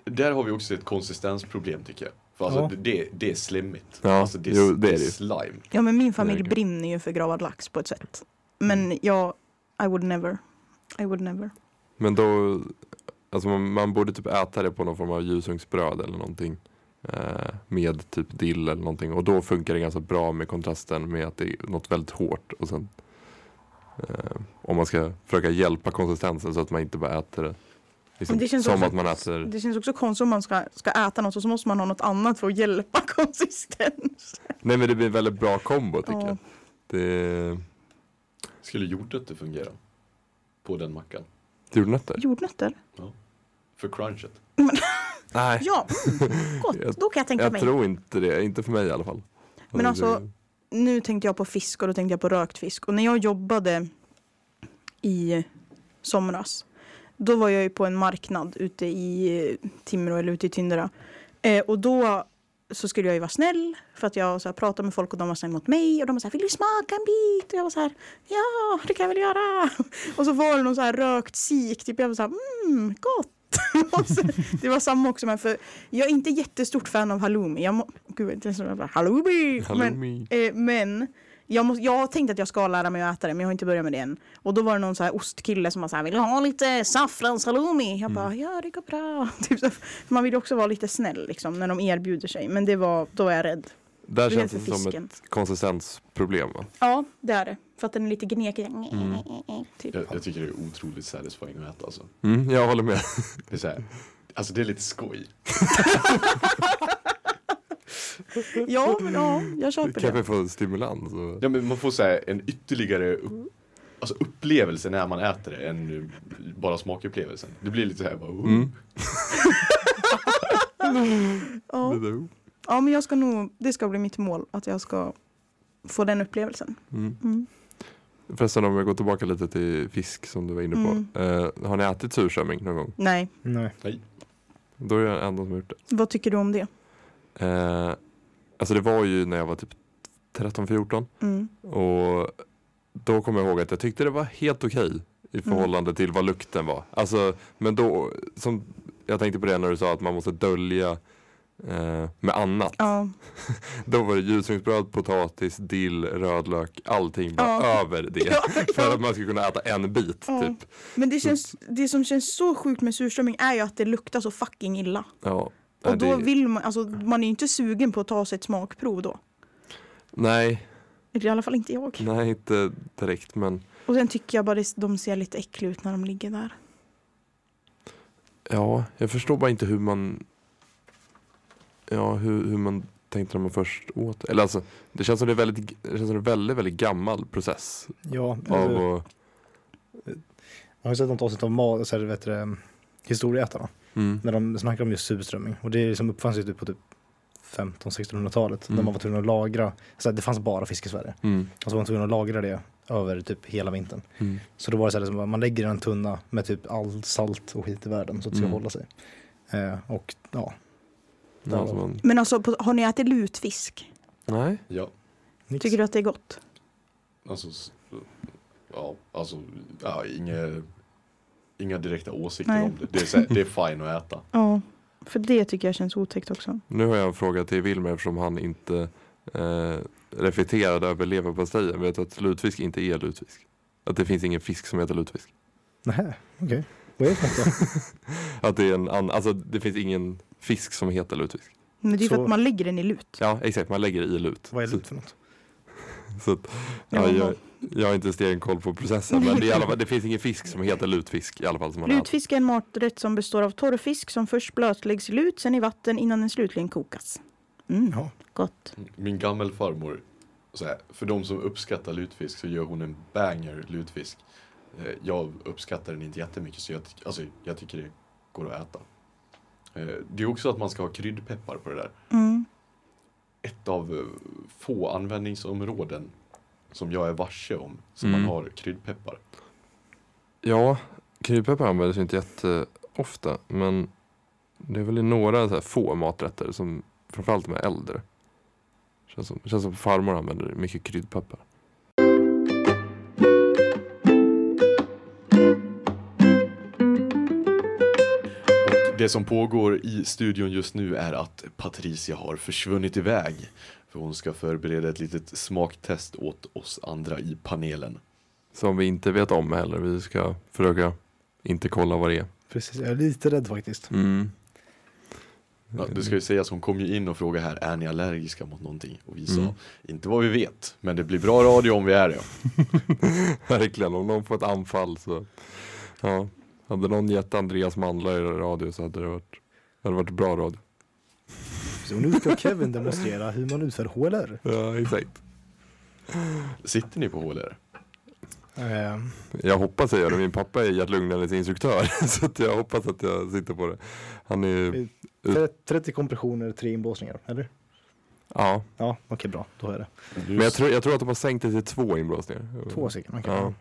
Speaker 2: Där har vi också ett konsistensproblem tycker jag. För alltså
Speaker 3: Ja.
Speaker 2: det- det, det är slemmigt.
Speaker 5: Ja,
Speaker 2: alltså, det, är-
Speaker 5: jo, det är
Speaker 2: det är
Speaker 5: det ju.
Speaker 2: slime.
Speaker 4: Ja men min familj
Speaker 5: Verkligen.
Speaker 4: brinner ju för gravad lax på ett sätt. Men jag, I would never. I would never.
Speaker 5: Men då, alltså man, man borde typ äta det på någon form av ljusugnsbröd eller någonting. Eh, med typ dill eller någonting. Och då funkar det ganska bra med kontrasten med att det är något väldigt hårt. Och sen, eh, om man ska försöka hjälpa konsistensen så att man inte bara äter det. Liksom,
Speaker 4: Men det känns
Speaker 5: som
Speaker 4: också-
Speaker 5: att man äter
Speaker 4: Det känns också konstigt om man ska, ska äta något och så måste man ha något annat för att hjälpa konsistens.
Speaker 5: Nej men det blir en väldigt bra kombo tycker
Speaker 4: Ja.
Speaker 5: jag. Det,
Speaker 2: Skulle jordnötter fungera? På den mackan?
Speaker 5: jordnötter?
Speaker 4: Jordnötter?
Speaker 2: För crunchet?
Speaker 5: Nej,
Speaker 4: Ja, mm,
Speaker 5: Jag-
Speaker 4: gott. Då kan jag tänka
Speaker 5: jag
Speaker 4: mig.
Speaker 5: tror inte det. Inte för mig i alla fall.
Speaker 4: Men alltså-
Speaker 5: det-
Speaker 4: nu tänkte jag på fisk och då tänkte jag på rökt fisk. Och när jag jobbade i somras, då var jag ju på en marknad ute i eh, Timrå eller ute i Tyndra. Eh, och då så skulle jag ju vara snäll för att jag så här, pratade med folk och de var snälla mot mig och de var så här, vill du smaka en bit? Och jag var så här, ja det kan jag väl göra. Och så var det någon så här rökt sik, typ jag var så här, mm, gott. Och så, det var samma också men för jag är inte jättestort fan av halloumi. Jag må, gud, det är som jag bara, halloumi! Men,
Speaker 5: halloumi.
Speaker 4: Eh, men jag, måste, jag har tänkt att jag ska lära mig att äta det men jag har inte börjat med det än. Och då var det någon så här ostkille som var så här, vill du ha lite saffranshalloumi? Jag bara, ja det går bra. Typ så, för man vill ju också vara lite snäll liksom, när de erbjuder sig. Men det var, då var jag rädd.
Speaker 5: Där
Speaker 4: det
Speaker 5: känns
Speaker 4: för
Speaker 5: det som
Speaker 4: fisken.
Speaker 5: ett konsistensproblem va?
Speaker 4: Ja, det är det. För att den är lite gnekig.
Speaker 5: Mm.
Speaker 4: Typ.
Speaker 2: Jag, jag tycker det är otroligt satisfying att äta alltså.
Speaker 5: Mm, jag håller med.
Speaker 2: Det är så här, alltså det är lite skoj.
Speaker 4: Ja, men, ja, jag köper det.
Speaker 5: Kanske få stimulans. Och...
Speaker 2: Ja, men man får så här, en ytterligare upp, alltså upplevelse när man äter det än eh, bara smakupplevelsen. Det blir lite så här bara, oh.
Speaker 5: Mm.
Speaker 4: Ja.
Speaker 5: Det där.
Speaker 4: ja, men jag ska nog, det ska bli mitt mål att jag ska få den upplevelsen.
Speaker 5: Mm.
Speaker 4: Mm.
Speaker 5: Förresten om jag går tillbaka lite till fisk som du var inne på.
Speaker 4: Mm.
Speaker 5: Eh, har ni ätit surströmming någon gång?
Speaker 4: Nej,
Speaker 3: Nej.
Speaker 5: Då är jag den enda som har gjort
Speaker 4: vad tycker du om det?
Speaker 5: det. Eh, alltså det var ju när jag var typ 13-14
Speaker 4: Mm.
Speaker 5: och då kommer jag ihåg att jag tyckte det var helt okej i
Speaker 4: Mm.
Speaker 5: förhållande till vad lukten var. Alltså, men då, som jag tänkte på det när du sa att man måste dölja eh, med annat.
Speaker 4: Ja,
Speaker 5: Då var det ljusvinksbröd, potatis, dill, rödlök, allting bara
Speaker 4: Ja.
Speaker 5: över det. För att man ska kunna äta en bit
Speaker 4: Ja.
Speaker 5: typ.
Speaker 4: Men det, känns, det som känns så sjukt med surströmming är ju att det luktar så fucking illa.
Speaker 5: Ja.
Speaker 4: Och
Speaker 5: Nej,
Speaker 4: då
Speaker 5: det,
Speaker 4: vill man, alltså man är ju inte sugen på att ta sig ett smakprov då.
Speaker 5: nej,
Speaker 4: I alla fall inte jag.
Speaker 5: nej inte direkt men
Speaker 4: Och sen tycker jag bara det, de ser lite äckliga ut när de ligger där.
Speaker 5: ja, jag förstår bara inte hur man ja, hur, hur man tänkte när man först åt. Eller alltså, det känns som det är väldigt, det känns som det är en väldigt, väldigt gammal process.
Speaker 3: Ja,
Speaker 5: Av
Speaker 3: eller-
Speaker 5: att,
Speaker 3: Jag har ju sett något avsnitt av mat, så här, vet du, det, historieätarna,
Speaker 5: mm,
Speaker 3: när de snackar om just surströmming. Och det liksom uppfanns ju typ på typ 1500-1600-talet, när
Speaker 5: Mm.
Speaker 3: man var tvungen att lagra, så här, det fanns bara fisk i Sverige,
Speaker 5: mm,
Speaker 3: och så var man tvungen att lagra det över typ hela vintern.
Speaker 5: mm.
Speaker 3: Så då var det så här, liksom, man lägger en tunna med typ all salt och skit i världen så att det ska
Speaker 5: Mm.
Speaker 3: hålla sig. Eh, och ja,
Speaker 5: Ja, alltså man,
Speaker 4: Men alltså, på, har ni ätit lutfisk?
Speaker 5: nej,
Speaker 2: Ja,
Speaker 3: nix.
Speaker 4: Tycker du att det är gott?
Speaker 2: alltså, s- ja, alltså, ja, inga, inga direkta åsikter
Speaker 4: Nej.
Speaker 2: om det. Det är, så här, det är fine att äta.
Speaker 4: Ja, för det tycker jag känns otäckt också.
Speaker 5: nu har jag en fråga till Wilmer eftersom han inte eh, reflekterade över leverpastejen. Vet du att lutfisk inte är lutfisk? Att det finns ingen fisk som heter lutfisk?
Speaker 3: Nej, okej. Vad är det för något då?
Speaker 5: Att det är en annan, alltså det finns ingen fisk som heter lutfisk.
Speaker 4: Men det är ju för
Speaker 3: Så-
Speaker 4: att man lägger den i lut.
Speaker 5: Ja, exakt. Man lägger det i lut.
Speaker 3: Vad är
Speaker 5: Så-
Speaker 3: lut för något?
Speaker 5: Så att,
Speaker 4: Ja,
Speaker 5: ja, jag,
Speaker 4: men-
Speaker 5: jag har inte stenkoll på processen men det, är i alla fall, det finns ingen fisk som heter lutfisk i alla fall. Som man äter.
Speaker 4: Lutfisk är en maträtt som består av torrfisk som först blötläggs i lut, sen i vatten innan den slutligen kokas. Mm,
Speaker 3: Ja.
Speaker 4: gott.
Speaker 2: Min gammelfarmor, så här, för de som uppskattar lutfisk så gör hon en banger lutfisk. Eh, Jag uppskattar den inte jättemycket så jag, ty- alltså, jag tycker det går att äta. Eh, Det är också att man ska ha kryddpeppar på det där.
Speaker 4: Mm.
Speaker 2: Ett av eh, få användningsområden som jag är varse om som
Speaker 5: Mm.
Speaker 2: man har kryddpeppar.
Speaker 5: Ja, kryddpeppar används ju inte jätteofta men det är väl i några så här få maträtter som framförallt de är äldre. Känns som, känns som farmor använder mycket kryddpeppar.
Speaker 2: Och det som pågår i studion just nu är att Patricia har försvunnit iväg. För hon ska förbereda ett litet smaktest åt oss andra i panelen.
Speaker 5: Som vi inte vet om heller. Vi ska försöka inte kolla vad det är.
Speaker 3: Precis, jag är lite rädd faktiskt.
Speaker 5: Mm.
Speaker 2: Ja, det ska ju sägas, hon kom ju in och frågade här, är ni allergiska mot någonting? Och vi sa,
Speaker 5: Mm.
Speaker 2: inte vad vi vet, men det blir bra radio om vi är det.
Speaker 5: Verkligen, om någon får ett anfall så. Ja. Hade någon gett Andreas mandlar i radio så hade det varit, hade varit bra radio.
Speaker 3: Så nu ska Kevin demonstrera hur man utför HLR.
Speaker 5: Ja, exakt.
Speaker 2: Sitter ni på HLR?
Speaker 3: Eh,
Speaker 5: Jag hoppas jag gör det. Min pappa är Gert Lugnells instruktör så att jag hoppas att jag sitter på det. Han är,
Speaker 3: tre- 30 kompressioner, 3 inblåsningar, eller?
Speaker 5: ja.
Speaker 3: Ja, okej bra, då är det.
Speaker 5: Men jag tror, jag tror att de har sänkt det till två inblåsningar.
Speaker 3: Två stycken, okej.
Speaker 5: Mm.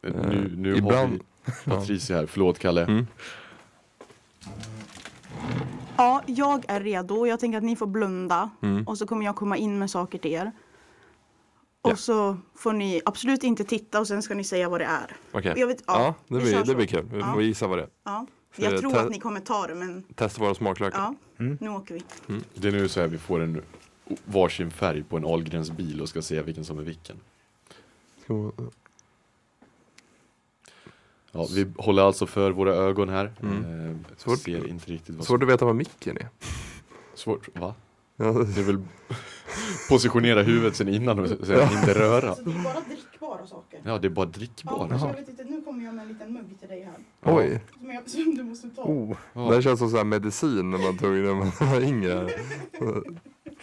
Speaker 5: Ja.
Speaker 2: Nu, nu
Speaker 5: Ibland-
Speaker 2: har vi Patricia här, förlåt Kalle.
Speaker 5: Mm.
Speaker 4: Ja, jag är redo. Jag tänker att ni får blunda
Speaker 5: Mm.
Speaker 4: och så kommer jag komma in med saker till er. Och
Speaker 5: Ja.
Speaker 4: så får ni absolut inte titta och sen ska ni säga vad det är.
Speaker 5: Okej.
Speaker 4: Jag vet- ja,
Speaker 5: ja, det
Speaker 4: vi kör
Speaker 5: blir,
Speaker 4: så.
Speaker 5: det blir kul. Vi
Speaker 4: Ja.
Speaker 5: får gissa vad det är.
Speaker 4: Ja.
Speaker 5: Så
Speaker 4: Jag
Speaker 5: det-
Speaker 4: tror
Speaker 5: ta-
Speaker 4: att ni kommer ta det, men
Speaker 5: Testa våra smaklökar.
Speaker 4: ja, nu åker vi.
Speaker 2: Det är nu så här, vi får en varsin färg på en Ahlgrens bil och ska se vilken som är vilken.
Speaker 5: Ska-
Speaker 2: Ja, vi håller alltså för våra ögon här.
Speaker 5: Mm.
Speaker 2: Eh,
Speaker 5: Svårt-
Speaker 2: Ser inte riktigt vad
Speaker 5: Svårt att veta vad micken är.
Speaker 2: Svårt, va?
Speaker 5: Ja,
Speaker 2: Det är väl positionera huvudet sen innan och sen inte röra.
Speaker 4: Alltså, det är bara drickbara saker. alltså,
Speaker 2: Ja, det är bara drickbara.
Speaker 4: jag vet inte, nu kommer jag med en liten mugg till dig här.
Speaker 5: Oj,
Speaker 4: Som, jag, som du måste ta.
Speaker 3: Oh,
Speaker 5: det här känns som så här medicin när man tog när man var yngre.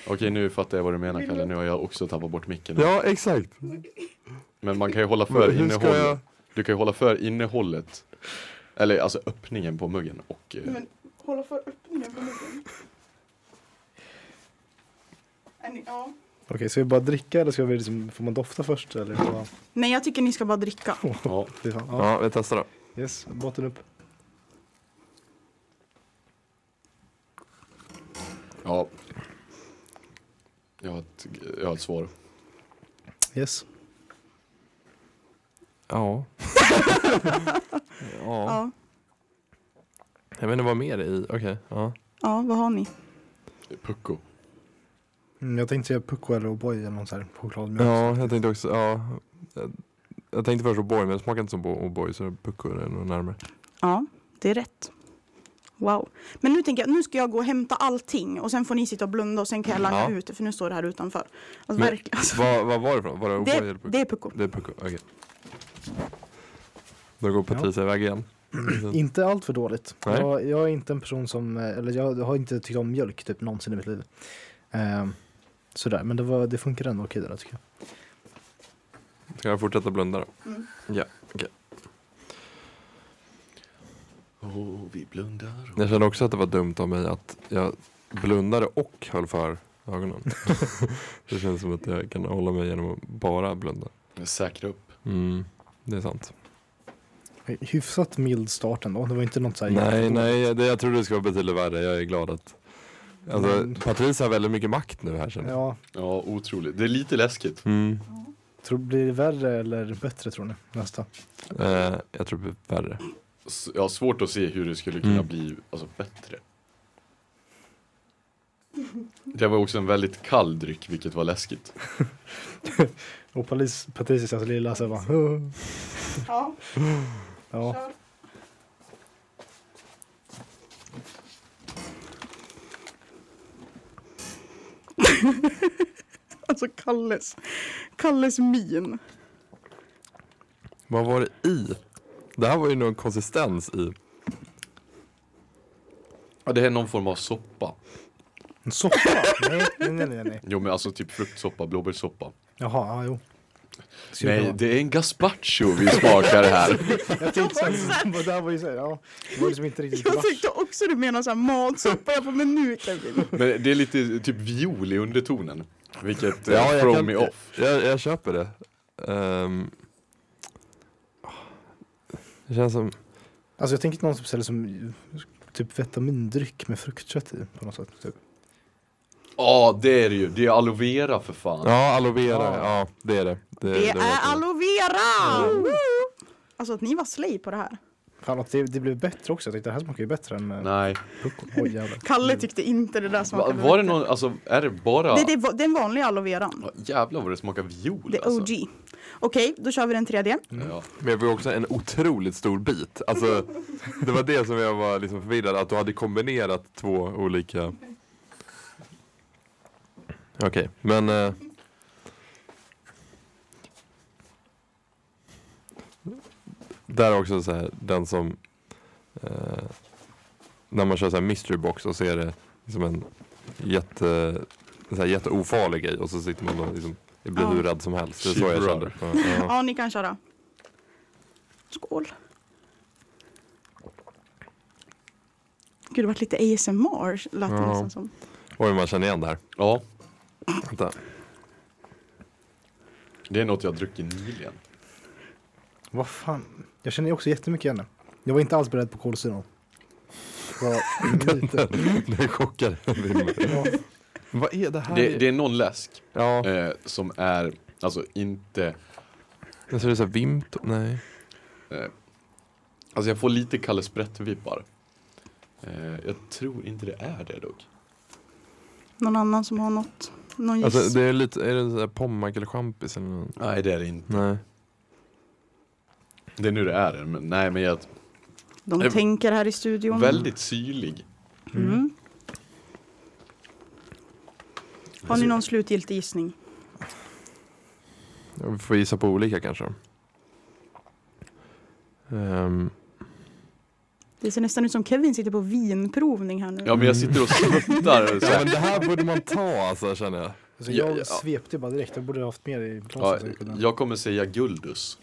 Speaker 2: Okej, nu fattar jag vad du menar Kalle. Nu har jag också tappat bort micken.
Speaker 5: Ja, exakt.
Speaker 2: Men man kan ju hålla för
Speaker 5: Men hur ska
Speaker 2: innehållet.
Speaker 5: jag?
Speaker 2: Du kan ju hålla för innehållet. Eller alltså öppningen på muggen och... eh,
Speaker 4: hålla för öppningen på muggen. Är ni- Ja.
Speaker 3: Okej, ska vi bara dricka eller ska vi liksom, får man dofta först? Eller? Bara,
Speaker 4: Nej, jag tycker ni ska bara dricka.
Speaker 2: Ja,
Speaker 3: fy fan. Ja.
Speaker 5: Ja, vi testar då.
Speaker 3: Yes, botten upp.
Speaker 2: ja. Jag har ett, jag har ett svar.
Speaker 3: Yes.
Speaker 5: Ja. ja.
Speaker 4: Ja.
Speaker 5: Jag vet inte vad mer det är i. Okej. Ja.
Speaker 4: ja, vad har ni?
Speaker 2: Pucko.
Speaker 3: Mm, jag tänkte säga Pucko eller O'boy eller någon sån här chokladmjölk.
Speaker 5: ja, jag tänkte också. Ja. Jag- Jag tänkte först O'boy men det smakar inte som Bo- O'boy så Pucko är nog närmare.
Speaker 4: Ja, det är rätt. Wow. Men nu tänker jag, nu ska jag gå och hämta allting och sen får ni sitta och blunda och sen kan jag
Speaker 5: Ja.
Speaker 4: langa ut det, för nu står det här utanför. Alltså,
Speaker 5: Men-
Speaker 4: verkligen. Alltså,
Speaker 5: Vad, vad var det för något? Var det O'boy
Speaker 4: det,
Speaker 5: eller Pucko?
Speaker 4: det är pucko.
Speaker 5: Det är Pucko, okej. Då går Patricia iväg igen.
Speaker 3: Inte allt för dåligt.
Speaker 5: Mm. Nej.
Speaker 3: Jag, jag är inte en person som, eh, eller jag har inte tyckt om mjölk typ någonsin i mitt liv. Eh, sådär, men det, var, det funkar ändå okej det där tycker jag.
Speaker 5: Ska jag fortsätta blunda då?
Speaker 4: Mm.
Speaker 5: Ja.
Speaker 2: Åh, vi blundar.
Speaker 5: Jag kände också att det var dumt av mig att jag blundade och höll för ögonen. det känns som att jag kan hålla mig genom att bara blunda.
Speaker 2: Säkra upp.
Speaker 5: Mm, det är sant.
Speaker 3: Hyfsat mild start ändå. Det var inte något såhär
Speaker 5: Nej, nej, det, jag tror det ska vara betydligt värre. Jag är glad att alltså,
Speaker 3: Men-
Speaker 5: Patrice har väldigt mycket makt nu här känner jag.
Speaker 3: Ja,
Speaker 2: Ja, otroligt. Det är lite läskigt.
Speaker 5: Mm,
Speaker 3: tror, blir det värre eller bättre tror ni? Nästa.
Speaker 5: eh, jag tror det blir värre.
Speaker 2: S- Jag har svårt att se hur det skulle kunna
Speaker 5: Mm.
Speaker 2: bli alltså, bättre. Det var också en väldigt kall dryck, vilket var läskigt.
Speaker 3: Och Palis, Patricia alltså lilla så här bara, "Åh."
Speaker 4: Ja,
Speaker 3: ja.
Speaker 4: kör. Alltså Kalles, Kalles min.
Speaker 5: Vad var det i? Det här var ju någon konsistens i.
Speaker 2: Ja, det är någon form av soppa.
Speaker 3: En soppa? nej, nej, nej, nej, nej.
Speaker 2: Jo men alltså typ fruktsoppa, blåbärssoppa.
Speaker 3: Jaha, ja, jo. Så
Speaker 2: Nej,
Speaker 3: jag-
Speaker 2: det är en gazpacho vi smakar här.
Speaker 3: Jag tänkte såhär, det där var ju såhär, ja. Det var liksom inte riktigt
Speaker 4: Jag tyckte också du menade så här matsoppa. Jag bara, men nu Kevin.
Speaker 2: Men det är lite typ viol i undertonen. Vilket eh,
Speaker 5: Ja,
Speaker 2: ja,
Speaker 5: jag
Speaker 2: throw
Speaker 5: kan-
Speaker 2: me off.
Speaker 5: Jag, jag köper det. Ehm. det känns som...
Speaker 3: Alltså jag tänker någon som säljer som typ vitamindryck med fruktkött i på något sätt. Typ.
Speaker 2: Ja, det är det ju. Det är aloe vera för fan.
Speaker 5: Ja, aloe vera.
Speaker 3: Ja.
Speaker 5: Ja. det är det.
Speaker 4: Det är
Speaker 5: låter-
Speaker 4: aloe vera! Woo! Alltså att ni var slay på det här.
Speaker 3: Fan, att det, det blev bättre också. Jag tänkte det här smakar ju bättre än eh,
Speaker 2: Nej.
Speaker 3: puckon. Oj jävlar.
Speaker 4: Kalle tyckte inte det där
Speaker 2: Va,
Speaker 4: smakade
Speaker 2: var det
Speaker 4: bättre.
Speaker 2: någon, alltså är det bara?
Speaker 4: Det, det, är va- den vanliga aloe veran.
Speaker 2: Ja, Jävlar vad det smakar viol
Speaker 4: Det är
Speaker 2: alltså.
Speaker 4: OG. Okej, då kör vi den tredje.
Speaker 2: Ja.
Speaker 5: Men jag var också en otroligt stor bit. Alltså, det var det som jag var liksom förvirrad, att du hade kombinerat två olika... Okej, men... eh, Där är också så här, den som... Eh, när man kör så här mystery box och så är det liksom en jätte, så här jätteofarlig grej och så sitter man och liksom, blir
Speaker 4: Ja.
Speaker 5: hur rädd som helst. Det är så
Speaker 2: Shit,
Speaker 5: jag
Speaker 2: brother.
Speaker 5: känner. Ja, ja.
Speaker 4: Ja, ni kan köra. Skål. Gud, det vart lite ASMR lät det
Speaker 5: Ja.
Speaker 4: nästan som.
Speaker 5: Oj, man känner igen det här.
Speaker 2: ja,
Speaker 5: Vänta.
Speaker 2: det är något jag har druckit nyligen.
Speaker 3: Vad fan. Jag känner ju också jättemycket igen det. Jag var inte alls beredd på kolsyran. Bara lite.
Speaker 5: Det chockar
Speaker 3: Ja.
Speaker 5: Vad är det här?
Speaker 2: Det, det är någon läsk
Speaker 5: Ja,
Speaker 2: eh, som är, alltså inte,
Speaker 5: jag ser det såhär vimt. Nej.
Speaker 2: alltså jag får lite Kalle Sprätt-vibbar. Eh, jag tror inte det är det dock.
Speaker 4: Någon annan som har något? Någon giss?
Speaker 5: Alltså det är lite, är det såhär pommack eller champis eller något?
Speaker 2: Nej det är det inte.
Speaker 5: Nej.
Speaker 2: Det är nu det är det, men nej men jag
Speaker 4: De
Speaker 2: eh,
Speaker 4: tänker här i studion.
Speaker 2: väldigt syrlig.
Speaker 4: Mm. Har ni någon slutgiltig gissning?
Speaker 5: Vi får gissa på olika kanske. Ehm,
Speaker 4: Det ser nästan ut som Kevin sitter på vinprovning här nu.
Speaker 2: Ja men jag sitter och sluttar.
Speaker 5: ja men det här borde man ta alltså känner jag.
Speaker 3: Alltså,
Speaker 2: Ja,
Speaker 3: jag
Speaker 2: ja.
Speaker 3: svepte ju bara direkt. Jag borde ha haft mer i
Speaker 2: Ja,
Speaker 3: glaset.
Speaker 2: jag kommer säga Guldus.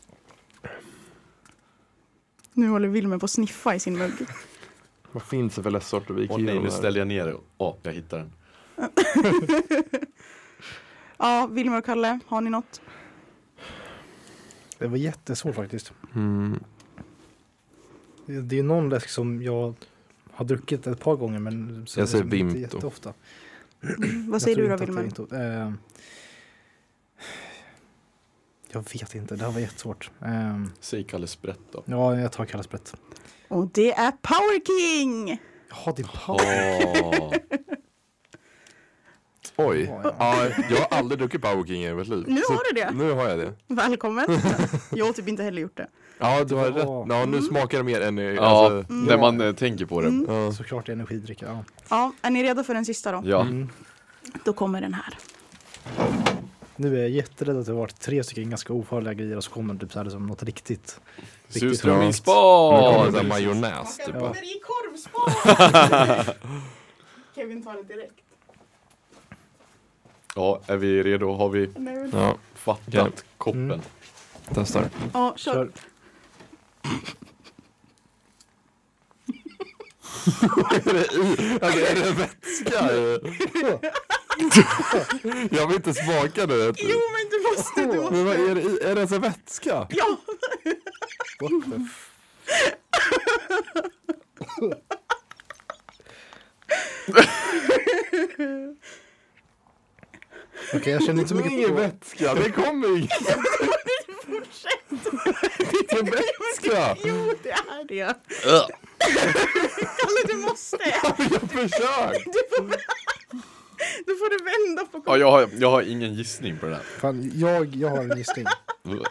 Speaker 4: Nu håller Wilmer på att sniffa i sin mugg.
Speaker 5: Vad finns det för läsksorter vi
Speaker 2: Åh nej, nu ställer jag ner det. Åh, jag hittar den.
Speaker 4: Ja, Wilmer och Kalle, har ni något?
Speaker 3: Det var jättesvårt faktiskt.
Speaker 5: Mm.
Speaker 3: Det är ju någon läsk som jag har druckit ett par gånger men som
Speaker 5: Jag säger
Speaker 3: liksom inte
Speaker 5: Vimto.
Speaker 3: jätteofta.
Speaker 4: Vad säger
Speaker 3: Jag
Speaker 4: du
Speaker 3: tror
Speaker 4: då
Speaker 3: inte
Speaker 4: Wilmer?
Speaker 3: att det är inte- ehm, Jag vet inte, det här var jättesvårt. Ehm,
Speaker 2: Säg Kalle Sprätt då.
Speaker 3: Ja, jag tar Kalle Sprätt.
Speaker 4: Och det är Power King!
Speaker 3: Jaha, det är
Speaker 2: Åh,
Speaker 3: Paolo.
Speaker 5: Oj.
Speaker 3: Ja,
Speaker 5: Ja, jag har aldrig druckit Power King i hela mitt liv.
Speaker 4: Nu
Speaker 5: Så
Speaker 4: har du det!
Speaker 5: Nu har jag det.
Speaker 4: Välkommen! Jag har typ inte heller gjort det.
Speaker 5: Ja, du har
Speaker 3: Ja.
Speaker 5: rätt. Ja, nu smakar det mer än...
Speaker 2: ja,
Speaker 5: Alltså,
Speaker 2: när man eh, tänker på det.
Speaker 5: ja.
Speaker 3: Såklart energidricka. Ja.
Speaker 4: Ja, är ni redo för den sista då?
Speaker 2: Ja,
Speaker 3: Mm.
Speaker 4: Då kommer den här.
Speaker 3: Nu är jag jätterädd att det har varit tre stycken ganska ofarliga grejer och så kommer det typ så här som något riktigt.
Speaker 2: surströmming
Speaker 5: bra. Nu kommer det
Speaker 2: spas!
Speaker 5: såhär majonnäs typ.
Speaker 3: Ja.
Speaker 4: i korvspad! Kevin tar det direkt.
Speaker 2: Ja, är vi redo? Har vi
Speaker 5: Ja,
Speaker 2: fattat
Speaker 5: Ja.
Speaker 2: koppen?
Speaker 3: Mm.
Speaker 5: testar.
Speaker 4: Ja, kör.
Speaker 3: Kör.
Speaker 5: är det i? Okej, är det vätska? jag vill inte smaka det. Vet
Speaker 4: Jo
Speaker 5: du.
Speaker 4: men du måste, du
Speaker 5: Men vad
Speaker 4: måste!
Speaker 5: är det i? Är det alltså vätska?
Speaker 4: Ja!
Speaker 3: What the f- Okej, jag känner inte så
Speaker 5: Det är
Speaker 3: mycket
Speaker 5: ingen
Speaker 3: på...
Speaker 5: vätska, det kommer inget. Det är vätska!
Speaker 4: Jo det är det!
Speaker 2: Ugh.
Speaker 4: Kalle du måste!
Speaker 5: Jag försöker!
Speaker 4: Du får, då får du vända på
Speaker 2: Ja, jag, har, jag har ingen gissning på det där.
Speaker 3: Fan, jag, jag har en gissning.
Speaker 2: Ugh.